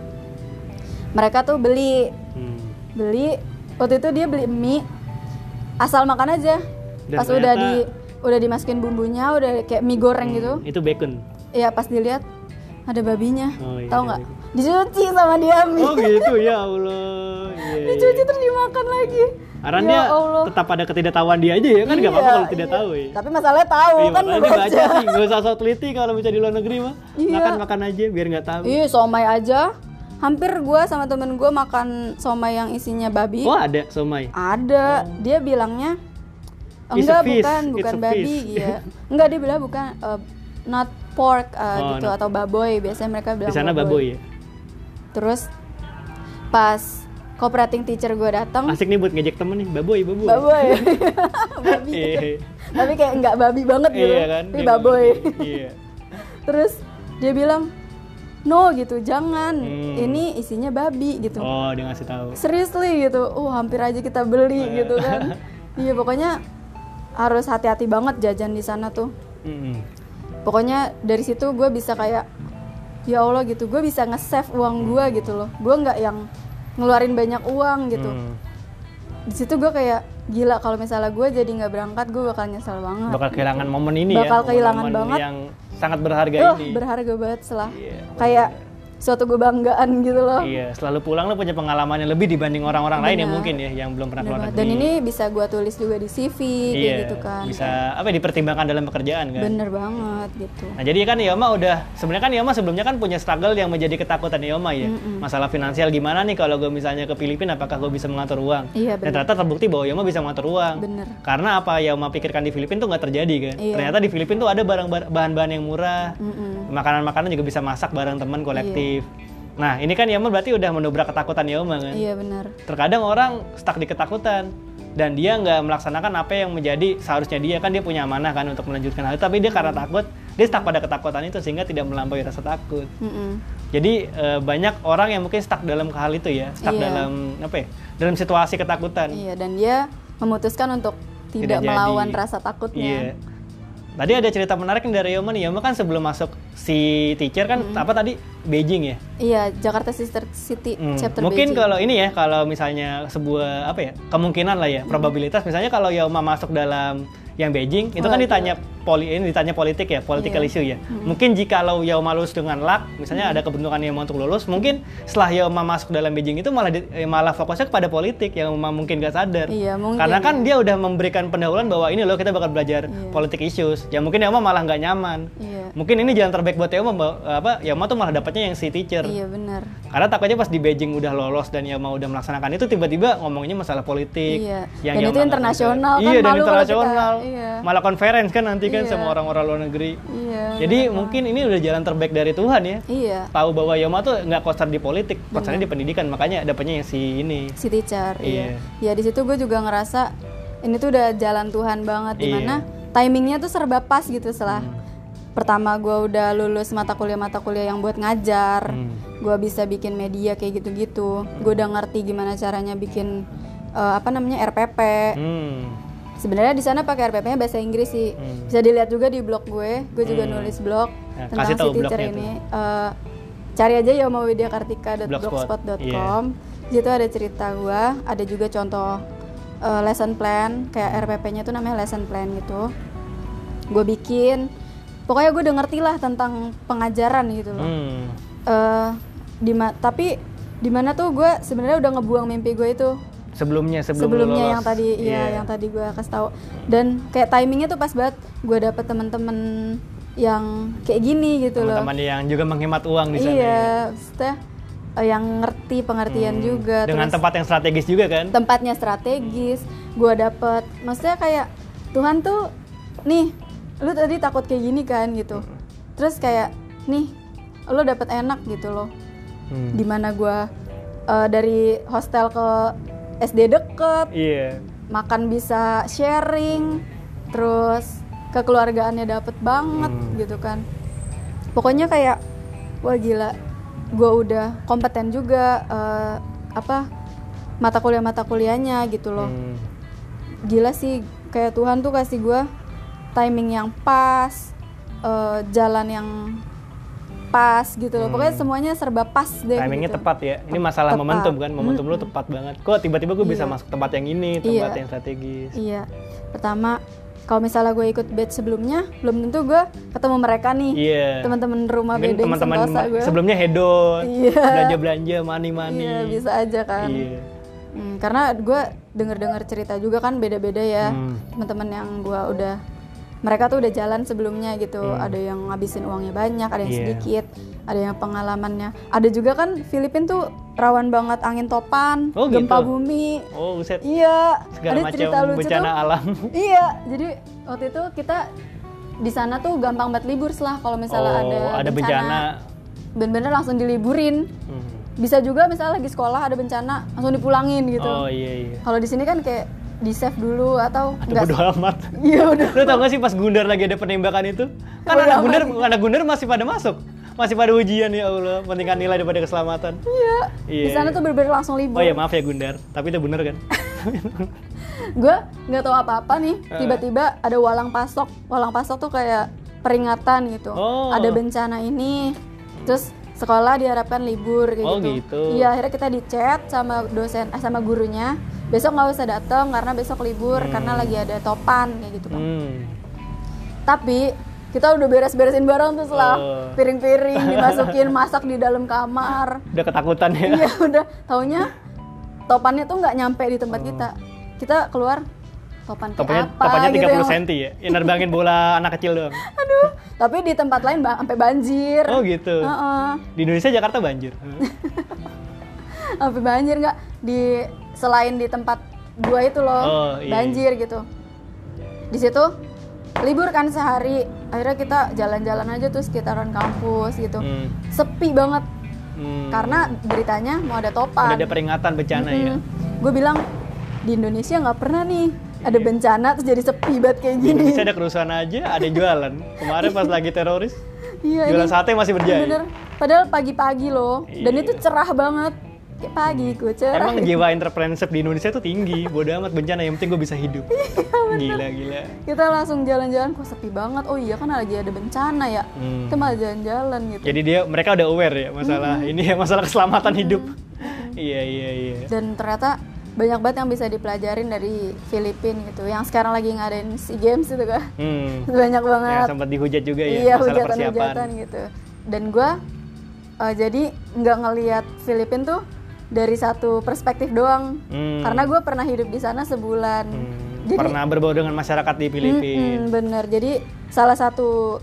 Mereka tuh beli
Hmm.
beli waktu itu dia beli mie asal makan aja.
Dan
pas udah
ternyata- Hmm,
di udah dimasukin bumbunya, udah kayak mie goreng gitu.
Itu bacon.
Iya pas dilihat ada babinya,
Oh, iya, ada
tahu nggak?
babi.
Dicuci sama dia mie.
Oh gitu ya Allah. Iya.
dicuci terus dimakan lagi.
Karena
Ya
dia
Allah.
tetap pada ketidaktahuan dia aja ya kan nggak apa-apa
Iya,
kalau tidak
iya.
tahu ya.
Tapi masalahnya tahu
Iya,
kan
makanya
baca.
dibaca sih, nggak usah sok teliti kalau bisa di luar negeri mah.
Iya.
Makan-makan aja biar nggak tahu.
Ih, Iya, somai aja. Hampir gua sama temen gua makan somai yang isinya babi.
Oh ada somai.
Ada. Dia bilangnya
Oh. It's
enggak
a fish,
bukan
it's
bukan
a
babi
fish."
iya. Enggak dia bilang bukan uh, not pork
Oh,
uh, gitu
not-
atau baboy biasanya mereka bilang
Di sana baboy ya.
Terus pas cooperating teacher gua datang
Asik nih buat ngejek temen nih, baboy, baboy.
baboy. babi. gitu.
Iya.
Tapi kayak enggak babi banget gitu.
Iya kan?
Tapi
dia
baboy.
Iya.
terus dia bilang no gitu jangan
Hmm.
ini isinya babi gitu
Oh, dia ngasih tahu.
seriously gitu oh hampir aja kita beli gitu kan iya pokoknya harus hati-hati banget jajan di sana tuh
Mm-mm.
pokoknya dari situ gue bisa kayak ya allah gitu gue bisa nge-save uang gue gitu loh gue nggak yang ngeluarin banyak uang gitu
Hmm.
di situ gue kayak gila kalau misalnya gue jadi nggak berangkat gue bakal nyesel banget
Bakal kehilangan momen ini ya.
Nah. Bakal kehilangan
momen-momen
banget.
yang sangat berharga
Wah,
ini.
berharga banget setelah
Iya,
kayak suatu kebanggaan gitu loh.
Iya, selalu pulang lo punya pengalaman yang lebih dibanding orang-orang lain yang
Benar.
mungkin ya yang belum pernah
Bener
keluar
banget.
negeri.
Dan ini bisa gua tulis juga di CV kayak
iya,
gitu kan.
bisa apa ya, dipertimbangkan dalam pekerjaan kan.
Bener banget gitu.
Nah, jadi kan Yoma udah sebenarnya kan Yoma sebelumnya kan punya struggle yang menjadi ketakutan Yoma ya. Masalah finansial gimana nih kalau gue misalnya ke Filipina apakah gue bisa mengatur uang? Dan
Iya, bener.
ternyata terbukti bahwa Yoma bisa mengatur uang.
Bener.
Karena apa yang Yoma pikirkan di Filipina tuh nggak terjadi kan.
Iya.
Ternyata di Filipina tuh ada barang bar- bahan-bahan yang murah. Makanan-makanan juga bisa masak bareng teman kolektif. Nah, ini kan Yoma berarti udah mendobrak ketakutan Yoma kan.
Iya benar.
Terkadang orang stuck di ketakutan dan dia nggak melaksanakan apa yang menjadi seharusnya dia kan dia punya amanah kan untuk melanjutkan hal itu tapi dia karena takut dia stuck pada ketakutan itu sehingga tidak melampaui rasa takut
Mm-mm.
jadi eh, banyak orang yang mungkin stuck dalam hal itu ya stuck
Iya.
dalam apa ya dalam situasi ketakutan
Iya dan dia memutuskan untuk tidak,
Tidak jadi.
melawan rasa
Iya.
takutnya.
tadi ada cerita menarik nih dari Yoma nih Yoma kan sebelum masuk si teacher kan apa tadi Beijing ya
Iya, Jakarta Sister City
Hmm,
chapter
mungkin
Beijing.
kalau ini ya kalau misalnya sebuah apa ya kemungkinan lah
Hmm.
ya probabilitas misalnya kalau Yoma masuk dalam yang Beijing itu
Oh,
kan
iya.
ditanya poli ini ditanya politik ya political
Iya. Hmm.
issue ya mungkin jika kalau Yoma lulus dengan luck misalnya ada kebentukan Yoma untuk lulus mungkin setelah Yoma masuk dalam Beijing itu malah di- eh, malah fokusnya kepada politik yang Yoma mungkin gak sadar
Iya, mungkin.
karena kan dia udah memberikan pendahuluan bahwa ini loh kita bakal belajar
Iya.
politik issues ya mungkin Yoma malah nggak nyaman
Iya.
mungkin ini jalan terbaik buat Yoma bahwa- apa Yoma tuh malah dapatnya yang si teacher
Iya benar.
karena takutnya pas di Beijing udah lolos dan ya mau udah melaksanakan itu tiba-tiba ngomonginnya masalah politik.
Iya.
yang
Dan
ya
itu
malah-
internasional kan,
Iya, dan
malu kalau
internasional.
kita- iya.
Malah konferensi kan nanti kan
Iya.
sama orang-orang luar negeri.
Iya.
Jadi mungkin ini udah jalan terbaik dari Tuhan ya.
Iya,
Tahu bahwa Yoma tuh nggak koster di politik, kosternya di pendidikan, makanya dapatnya yang si ini.
si teacher.
Iya.
Iya. Ya di situ gue juga ngerasa ini tuh udah jalan Tuhan
Iya.
banget
Hmm.
dimana timingnya tuh serba pas gitu setelah pertama gue udah lulus mata kuliah mata kuliah yang buat ngajar,
Hmm.
gue bisa bikin media kayak gitu-gitu. Gue udah ngerti gimana caranya bikin eh, apa namanya RPP.
Hmm.
Sebenarnya di sana pakai RPP-nya bahasa Inggris sih. Bisa dilihat juga di blog gue. Gue juga nulis blog
Nah,
tentang
kasih
si
tahu blognya
teacher
tuh.
ini. Eh, cari aja yomawidiakartika.blogspot.com.
Blogspot,
Di situ ada cerita gue, ada juga contoh eh, lesson plan kayak RPP-nya tuh namanya lesson plan gitu. Gue bikin pokoknya gue udah ngerti lah tentang pengajaran gitu loh.
Hmm.
Eh, di ma- tapi di mana tuh gue sebenarnya udah ngebuang mimpi gue itu
Sebelumnya sebelum lu
sebelumnya
lolos.
yang tadi iya
Iya.
yang tadi gue kasih tahu dan kayak timingnya tuh pas banget gue dapet temen-temen yang kayak gini gitu loh
teman-teman yang juga menghemat uang di sana.
iya
ya. Hmm,
maksudnya eh, yang ngerti pengertian juga
Dengan
terus
tempat yang strategis juga kan?
tempatnya strategis gue dapet maksudnya kayak Tuhan tuh nih lu tadi takut kayak gini kan gitu terus kayak nih lu dapet enak gitu loh
Hmm.
dimana gue eh, dari hostel ke SD deket
Iya.
makan bisa sharing terus kekeluargaannya dapet banget
Hmm.
gitu kan pokoknya kayak wah gila gue udah kompeten juga eh, apa mata kuliah mata kuliahnya gitu loh
Hmm.
gila sih kayak Tuhan tuh kasih gue timing yang pas eh, jalan yang pas gitu loh pokoknya semuanya serba pas deh
Hmm. Timingnya
gitu.
tepat ya. Ini masalah
Tepat.
momentum kan, momentum lu tepat banget. Kok tiba-tiba gue bisa
Iya.
masuk tempat yang ini, tempat
Iya.
yang strategis.
Iya, pertama kalau misalnya gue ikut batch sebelumnya, belum tentu gue ketemu mereka nih,
Iya.
teman-teman rumah
Mungkin
bedeng
teman-teman
Sentosa gue.
sebelumnya hedon,
Iya.
belanja-belanja, mani-mani.
Iya, bisa aja kan.
Iya.
Hmm, karena gue denger-dengar cerita juga kan beda-beda ya,
Hmm.
teman-teman yang gue udah mereka tuh udah jalan sebelumnya gitu, ada yang ngabisin uangnya banyak, ada yang
Hmm. Iya.
sedikit, ada yang pengalamannya, ada juga kan Filipina tuh rawan banget angin topan,
Oh,
gempa
gitu.
bumi,
Oh, buset.
iya,
Segala
ada
macam
cerita lucu tuh.
bencana alam.
Iya, jadi waktu itu kita di sana tuh gampang banget libur lah kalau misalnya
oh,
ada
ada bencana.
Bener-bener langsung diliburin.
Hmm.
Bisa juga misalnya lagi sekolah ada bencana langsung dipulangin gitu.
Oh, iya iya.
Kalau di sini kan kayak di save dulu atau
Aduh,
enggak?
bodo amat.
Iya udah.
Lu tau gak sih pas Gundar lagi ada penembakan itu? Kan
Bodo
anak
amat.
Gundar, anak Gundar masih pada masuk. Masih pada ujian ya Allah, pentingkan nilai daripada keselamatan.
Iya.
Iya,
Di sana
iya.
tuh bener-bener langsung
Oh
libur.
ya maaf ya Gundar, tapi itu bener kan?
Gue nggak tahu apa-apa nih.
Eh.
Tiba-tiba ada walang pasok. Walang pasok tuh kayak peringatan gitu.
Oh.
Ada bencana ini. Terus sekolah diharapkan libur kayak
Oh,
gitu.
gitu.
Iya akhirnya kita di chat sama dosen, eh, sama gurunya. Besok nggak usah
Hmm.
datang karena besok libur karena lagi ada topan kayak gitu kan.
Hmm.
Tapi kita udah beres-beresin barang terus lah
Oh.
piring-piring dimasukin masak di dalam kamar
Udah ketakutan ya.
iya udah taunya topannya tuh nggak nyampe di tempat kita kita keluar topan kayak
Topannya,
apa
topannya 30
gitu yang-
cm ya. Ya nerbangin bola anak kecil doang.
aduh tapi di tempat lain ba- sampai banjir
Oh gitu.
Heeh. Gitu.
Di Indonesia Jakarta banjir. Hmm.
sampai banjir nggak di selain di tempat gua itu loh
Oh, iya.
banjir gitu di situ libur kan sehari akhirnya kita jalan-jalan aja tuh sekitaran kampus gitu
Hmm.
sepi banget
Hmm.
karena beritanya mau ada
Udah
topan
ada peringatan bencana ya.
gue bilang di Indonesia nggak pernah nih ada bencana terus jadi sepi banget kayak
Di
gini
Indonesia Iya. ada kerusuhan aja, ada yang jualan. Kemarin pas lagi teroris,
iya
jualan
ini
sate masih berjaya.
bener padahal pagi-pagi loh dan
Iya.
itu cerah banget kayak pagi gue cerah
Emang jiwa entrepreneurship di Indonesia tuh tinggi, bodo amat bencana, yang penting gue bisa hidup.
Iya,
Gila, gila.
kita langsung jalan-jalan kok sepi banget oh iya kan lagi ada bencana ya
Hmm. Iya,
kita malah jalan-jalan gitu
Jadi dia mereka udah aware ya masalah ini ya masalah keselamatan hidup. Iya, iya, iya.
dan ternyata banyak banget yang bisa dipelajarin dari Filipina gitu yang sekarang lagi ngadain SEA Games itu kan
Hmm.
banyak
Yang
banget
sempat dihujat juga ya
iya
masalah persiapan.
hujatan-hujatan gitu dan gue jadi nggak ngelihat Filipina tuh dari satu perspektif doang
Hmm.
karena gue pernah hidup di sana sebulan
Hmm,
jadi
Pernah berbaur dengan masyarakat di Filipina.
Mm-mm, bener. Jadi salah satu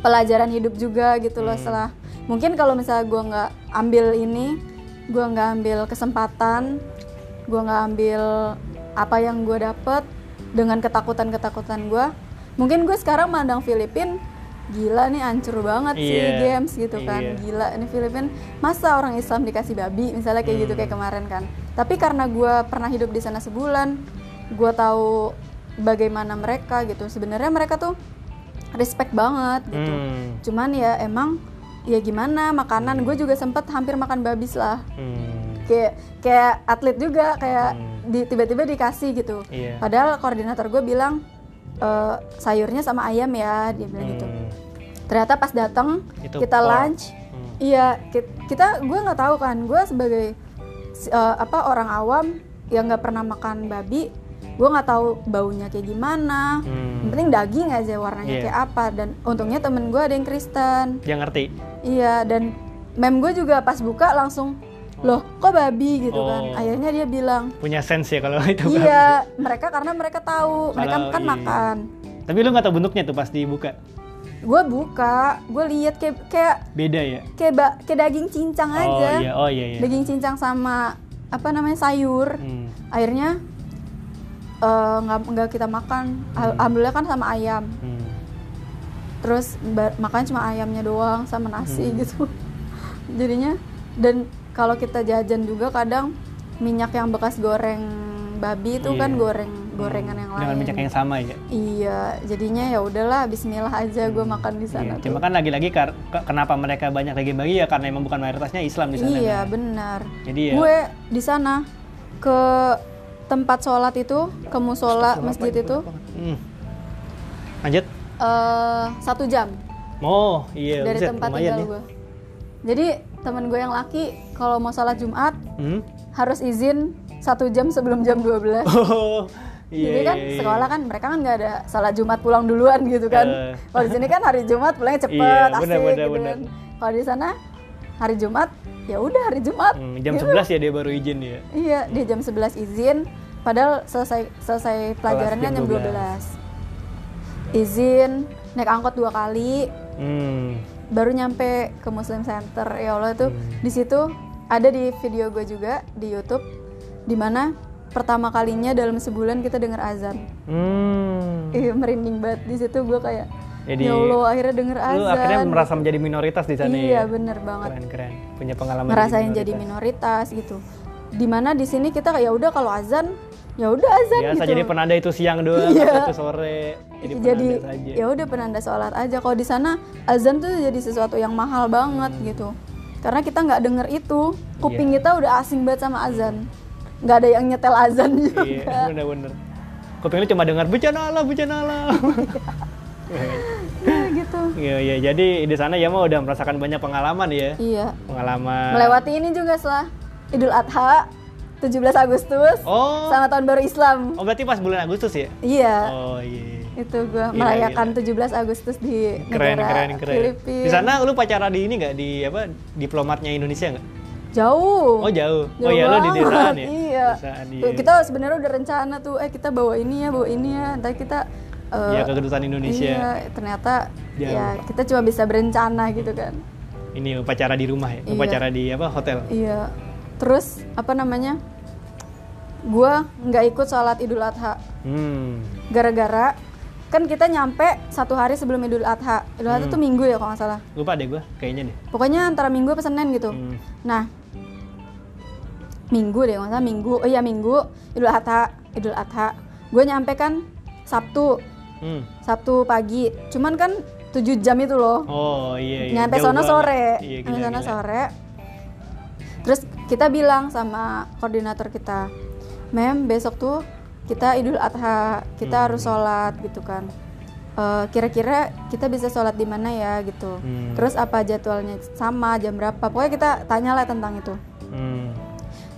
pelajaran hidup juga gitu
Hmm.
loh. Setelah mungkin kalau misalnya gua nggak ambil ini, gua nggak ambil kesempatan, gua nggak ambil apa yang gue dapet dengan ketakutan-ketakutan gua mungkin gue sekarang mandang Filipin gila nih hancur banget sih
Iya.
games gitu kan
Iya.
gila ini Filipin masa orang Islam dikasih babi misalnya kayak gitu
Hmm.
kayak kemarin kan tapi karena gue pernah hidup di sana sebulan gue tahu bagaimana mereka gitu sebenarnya mereka tuh respect banget gitu
Hmm.
cuman ya emang ya gimana makanan gue juga sempet hampir makan babis lah
Hmm.
kayak kayak atlet juga kayak di- tiba-tiba dikasih gitu
Iya.
padahal koordinator gue bilang e, sayurnya sama ayam ya dia bilang gitu
Hmm.
ternyata pas datang
Itu
kita
pork.
lunch
Hmm.
iya ki- kita gue nggak tahu kan gue sebagai si- eh, apa orang awam yang nggak pernah makan babi gue nggak tahu baunya kayak gimana
Hmm.
yang penting daging aja warnanya
Iya.
kayak apa dan untungnya temen gue ada yang Kristen
Dia ngerti.
iya dan mem gue juga pas buka langsung loh kok babi gitu kan
Oh.
akhirnya dia bilang
Punya sense ya kalau itu. Bang.
iya mereka karena mereka tahu mereka
Kalau
kan
iya.
makan
Tapi lu nggak tahu bentuknya tuh pas dibuka.
gue buka gue lihat kayak kayak
Beda ya.
kayak ba- kayak daging
Oh
cincang aja
iya, oh iya iya.
daging cincang sama apa namanya sayur
Hmm.
akhirnya eh, nggak nggak kita makan Al- alhamdulillah kan sama ayam
Hmm.
terus ba- makan cuma ayamnya doang sama nasi
Hmm.
gitu jadinya dan kalau kita jajan juga kadang minyak yang bekas goreng babi itu kan
Iya.
goreng gorengan yang lain
Dengan minyak yang sama ya.
iya jadinya ya udahlah Bismillah aja gue makan di sana
Iya,
tuh.
Cuma kan lagi-lagi kar- ke- kenapa mereka banyak daging-daging ya karena emang bukan mayoritasnya Islam di sana.
Iya
kan?
benar.
Jadi ya-
Gue di sana ke tempat sholat itu, ke musola masjid itu
Hmm. Lanjut.
eh, satu jam
Oh, iya.
dari
buset,
tempat
lumayan
tinggal
ya.
gue. Jadi temen gue yang laki kalau mau sholat Jumat
Hmm?
harus izin satu jam sebelum jam 12
Oh, iya.
Jadi kan
iya, iya.
sekolah kan mereka kan nggak ada sholat Jumat pulang duluan gitu kan.
Eh.
Kalau di sini kan hari Jumat pulangnya cepet,
Iya,
asik
benar, benar,
gitu
benar.
kan. Kalau di sana hari Jumat ya udah hari Jumat.
Hmm, jam
gitu.
11 ya dia baru izin ya.
Iya, dia jam 11 izin, padahal selesai selesai pelajarannya
jam
jam
12.
12. Izin, naik angkot dua kali,
Hmm.
baru nyampe ke Muslim Center. Ya Allah itu di situ ada di video gue juga di YouTube di mana pertama kalinya dalam sebulan kita dengar azan.
Hmm.
Ih, merinding banget di situ gue kayak
Jadi,
ya Allah akhirnya denger azan.
Lu akhirnya merasa menjadi minoritas di sana ya.
Iya, bener banget.
Keren keren. Punya pengalaman
ngerasain jadi minoritas gitu. Dimana di sini kita kayak ya udah kalau azan ya udah azan
Biasa
gitu.
jadi penanda itu siang doang,
Iya.
atau itu sore. Jadi penanda
jadi
saja.
ya udah penanda sholat aja. Kalau di sana azan tuh jadi sesuatu yang mahal banget
Hmm.
gitu. Karena kita nggak denger itu,
Iya.
kuping kita udah asing banget sama azan. Nggak ada yang nyetel azan juga.
Iya, bener-bener. Kuping lu cuma dengar bencana Allah, bencana Allah.
Iya, gitu.
Iya, iya. Jadi di sana ya mah udah merasakan banyak pengalaman ya.
Iya.
Pengalaman
Melewati ini juga setelah Idul Adha 17 Agustus
Oh.
sama tahun baru Islam.
Oh berarti pas bulan Agustus ya?
Iya.
Oh iya.
Itu gua
Gila,
merayakan 17 Agustus di
Keren keren
negara
keren.
Filipina.
Di sana lu pacara di ini nggak di apa diplomatnya Indonesia nggak?
jauh.
Oh jauh.
Jauh
oh iya lo di
banget.
desaan ya.
Iya.
Desaan, iya.
Tuh, Kita sebenarnya udah rencana tuh eh kita bawa ini ya, bawa ini ya. Entar kita eh,
Iya, ke kedutaan Indonesia.
Iya, ternyata
Jauh.
ya kita cuma bisa berencana gitu kan.
Ini upacara di rumah ya,
Iya.
upacara di apa hotel.
Iya. Terus apa namanya? Gua nggak ikut sholat Idul Adha
Hmm.
gara-gara kan kita nyampe satu hari sebelum Idul Adha. Idul
Hmm.
Adha tuh minggu ya kalau nggak salah.
Lupa deh gua kayaknya deh.
Pokoknya antara minggu apa Senin gitu.
Hmm.
Nah, minggu deh, masa minggu, oh iya minggu, Idul Adha, Idul Adha. Gue nyampe kan Sabtu,
Hmm.
Sabtu pagi. Cuman kan 7 jam itu loh.
Oh iya. iya.
nyampe
Jauh banget.
sono sore.
Iya,
nyampe
gila,
sono
gila.
sore. Terus kita bilang sama koordinator kita, "Mem, besok tuh kita Idul Adha, kita
Hmm.
harus sholat gitu kan. Eh, Kira-kira kita bisa sholat di mana ya gitu.
Hmm.
Terus apa jadwalnya sama, jam berapa? Pokoknya kita tanyalah tentang itu."
Hmm.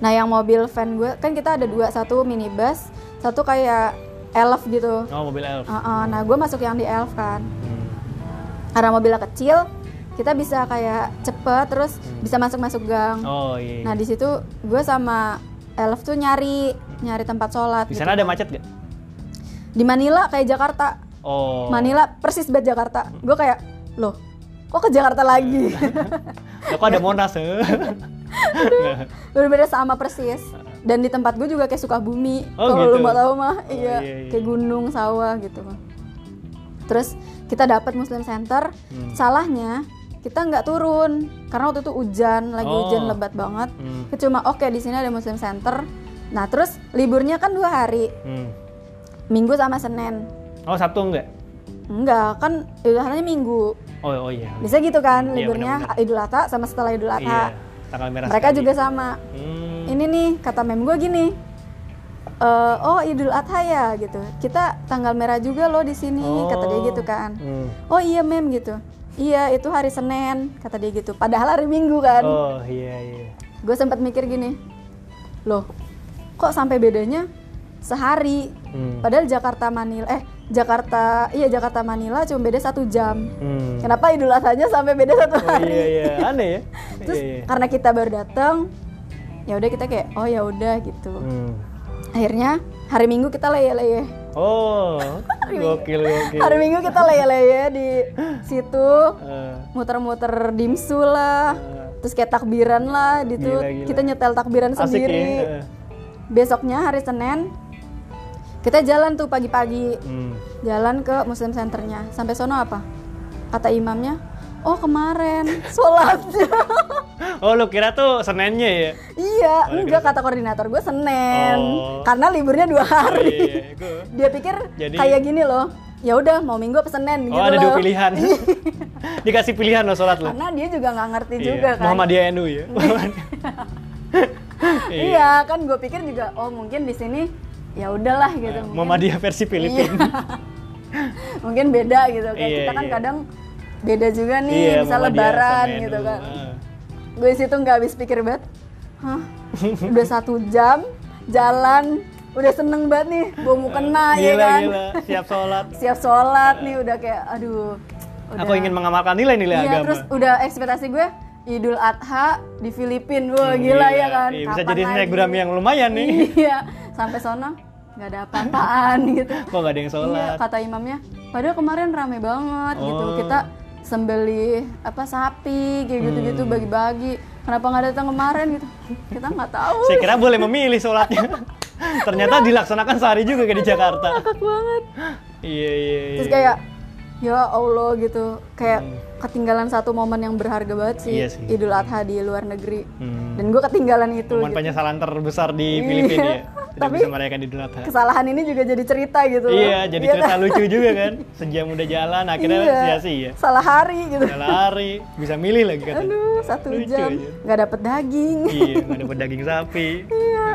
Nah yang mobil van gue kan kita ada dua, satu minibus, satu kayak elf gitu.
Oh mobil elf.
Uh-uh, nah gue masuk yang di elf kan.
Hmm.
Karena mobilnya kecil, kita bisa kayak cepet terus bisa masuk masuk gang.
Hmm. Oh iya.
Nah di situ gue sama elf tuh nyari nyari tempat sholat.
di
gitu.
sana ada macet nggak?
Di Manila kayak Jakarta.
Oh.
Manila persis banget Jakarta. Gue kayak loh kok ke Jakarta lagi?
Iya. Lah, Kok ada Monas? eh?
Berbeda sama persis. Dan di tempat gue juga kayak Sukabumi.
Oh,
Kalau lu
gitu.
mau tahu mah,
Oh,
iya,
iya, iya.
kayak gunung, sawah gitu. Terus kita dapat Muslim Center.
Hmm.
Salahnya kita nggak turun karena waktu itu hujan, lagi
Oh.
hujan lebat banget.
Hmm.
Kita Cuma oke di sini ada Muslim Center. Nah terus liburnya kan dua hari,
Hmm.
Minggu sama Senin.
Oh Sabtu enggak?
Enggak, kan udahannya Minggu.
Oh oh iya.
Bisa gitu kan,
Iya,
liburnya Idul Adha sama setelah Idul
Iya.
Adha.
Tanggal merah.
Mereka
sekali.
juga sama
Hmm.
ini nih kata mem gue gini "Eh, oh Idul Adha ya gitu kita tanggal merah juga loh di sini kata dia
Oh.
gitu kan
Hmm.
oh iya mem gitu iya itu hari Senin kata dia gitu padahal hari Minggu kan
Oh iya iya.
gue sempat mikir gini loh kok sampai bedanya sehari
Hmm.
padahal Jakarta Manila eh Jakarta iya Jakarta Manila cuma beda satu jam
Hmm.
kenapa Idul Adhanya sampai beda satu
Oh
hari
iya iya aneh ya.
terus kan-
Iya, iya.
karena kita baru datang ya udah kita kayak oh ya udah gitu
Hmm.
akhirnya hari minggu kita leye-leye
Oh, gokil gokil.
hari minggu kita leye-leye di situ
Eh,
muter-muter dimsu lah terus kayak takbiran lah gitu
Gila, gila.
kita nyetel takbiran
asik
Kan sendiri
ya. eh.
besoknya hari senin kita jalan tuh pagi-pagi
Hmm.
jalan ke muslim centernya sampai sono apa kata imamnya oh kemarin sholatnya
Oh lu kira tuh Seninnya ya?
iya
Oh,
enggak kata koordinator gue senin
Oh.
karena liburnya
Oh,
dua hari
iya, iya. Gua-
dia pikir
Jadi-
kayak gini loh ya udah mau minggu apa senin
Oh
gitu
ada
loh
dua pilihan. Dikasih pilihan lo sholat lo.
karena dia juga nggak ngerti
Iya.
juga kan
Muhammadiyah NU ya.
iya. kan gue pikir juga oh mungkin di sini ya udahlah gitu
Iya,
mungkin,
Eh,
Iya,
Muhammadiyah versi Iya, Filipin.
mungkin beda gitu kan
Iya,
kita kan
iya.
kadang beda juga nih bisa
Muhammadiyah
lebaran
sama
gitu
NU.
kan
Ah.
gue situ nggak habis pikir banget Hah, udah satu jam jalan udah seneng banget nih gue mau kena ya
Ah. gila,
kan
gila. Siap sholat.
siap sholat nih udah kayak aduh udah.
Aku ingin mengamalkan nilai-nilai
Iya,
agama.
terus udah ekspektasi gue Idul Adha di Filipina. Wah, gila, ya kan.
Iya, bisa
Kapan
jadi
lagi?
snapgram yang lumayan nih.
Iya, sampai sono nggak ada apa-apaan gitu.
Kok gak ada yang
Iya,
sholat?
kata imamnya, padahal kemarin rame banget gitu.
Oh.
Kita sembelih apa sapi kayak gitu-gitu
Hmm.
bagi-bagi. Kenapa nggak datang kemarin gitu? Kita nggak tahu.
Saya kira boleh memilih sholatnya. Ternyata dilaksanakan sehari juga kayak di Jakarta.
Ngakak banget.
Iya, iya, iya.
Terus kayak ya Allah gitu, kayak ketinggalan satu momen yang berharga banget sih,
Hmm. Iya sih.
Idul Adha di luar negeri.
Hmm.
Dan gue ketinggalan itu.
Momen
gitu. Iya.
penyesalan terbesar di Filipina ya. Tidak
Tapi-
bisa merayakan di Idul Adha.
kesalahan ini juga jadi cerita gitu loh.
Iya, jadi
Iya
cerita
kan?
lucu juga kan. Sejam udah jalan, akhirnya
Iya.
sia-sia.
salah hari gitu
Udah lari, bisa milih lagi katanya.
aduh satu
Iya, Lucu
jam
aja.
nggak dapet daging
iya, nggak dapat daging sapi.
Iya.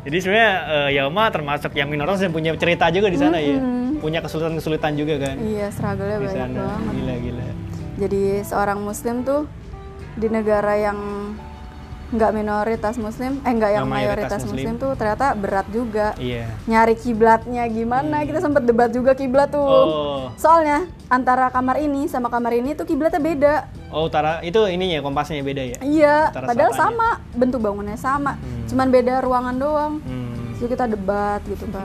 Jadi sebenarnya eh, Yalma termasuk yang minoros yang punya cerita juga di sana ya. Punya kesulitan-kesulitan juga kan
Mm-hmm. iya struggle-nya
di
banyak
sana.
banget
Gila gila.
jadi seorang muslim tuh di negara yang nggak minoritas muslim eh nggak yang
Nggak mayoritas
mayoritas muslim.
muslim.
tuh ternyata berat juga
Iya.
nyari kiblatnya gimana kita sempet debat juga kiblat tuh
Hmm. Oh.
soalnya antara kamar ini sama kamar ini tuh kiblatnya beda
Oh, utara itu ininya kompasnya beda ya.
iya
Antara Hmm.
padahal
sama
sama bentuk bangunnya sama cuman beda ruangan doang
Hmm.
Terus kita debat gitu kan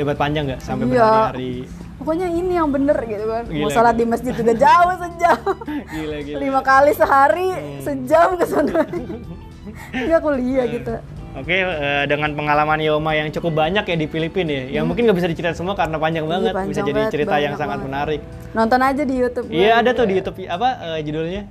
Debat panjang nggak sampai
Iya.
berhari-hari.
pokoknya ini yang bener gitu kan mau
Gila,
sholat
gila.
di masjid udah jauh sejam
Gila gila. Hmm.
lima kali sehari sejam ke sana nggak kuliah gitu
Oke, eh, dengan pengalaman Yoma yang cukup banyak ya di Filipina ya, yang mungkin nggak bisa diceritain semua karena panjang banget,
Hmm. Iya, panjang
bisa jadi
banget,
cerita yang
banyak
sangat
banget.
menarik.
nonton aja di YouTube gue.
Iya ada tuh di YouTube apa eh, judulnya?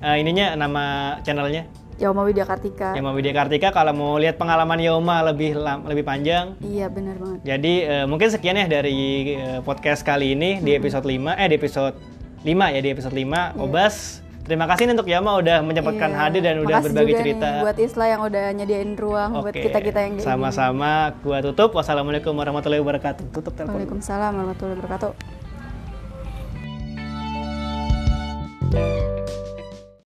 Eh, ininya nama channelnya
Yauma Widya Kartika
Yoma Widya Kartika. Kalau mau lihat pengalaman Yoma lebih lam- lebih panjang,
iya bener banget
jadi eh, mungkin sekian ya dari eh, podcast kali ini
Hmm.
di episode 5 eh di episode 5 ya di episode 5 Obas. Terima kasih nih untuk Yoma udah menyempatkan
Iya.
hadir dan udah
Makasih
berbagi
juga nih
cerita.
buat Isla yang udah nyediain ruang buat
Oke,
kita-kita yang kayak gini.
sama-sama gua tutup. Wassalamualaikum warahmatullahi wabarakatuh. Tutup telepon.
Waalaikumsalam warahmatullahi wabarakatuh.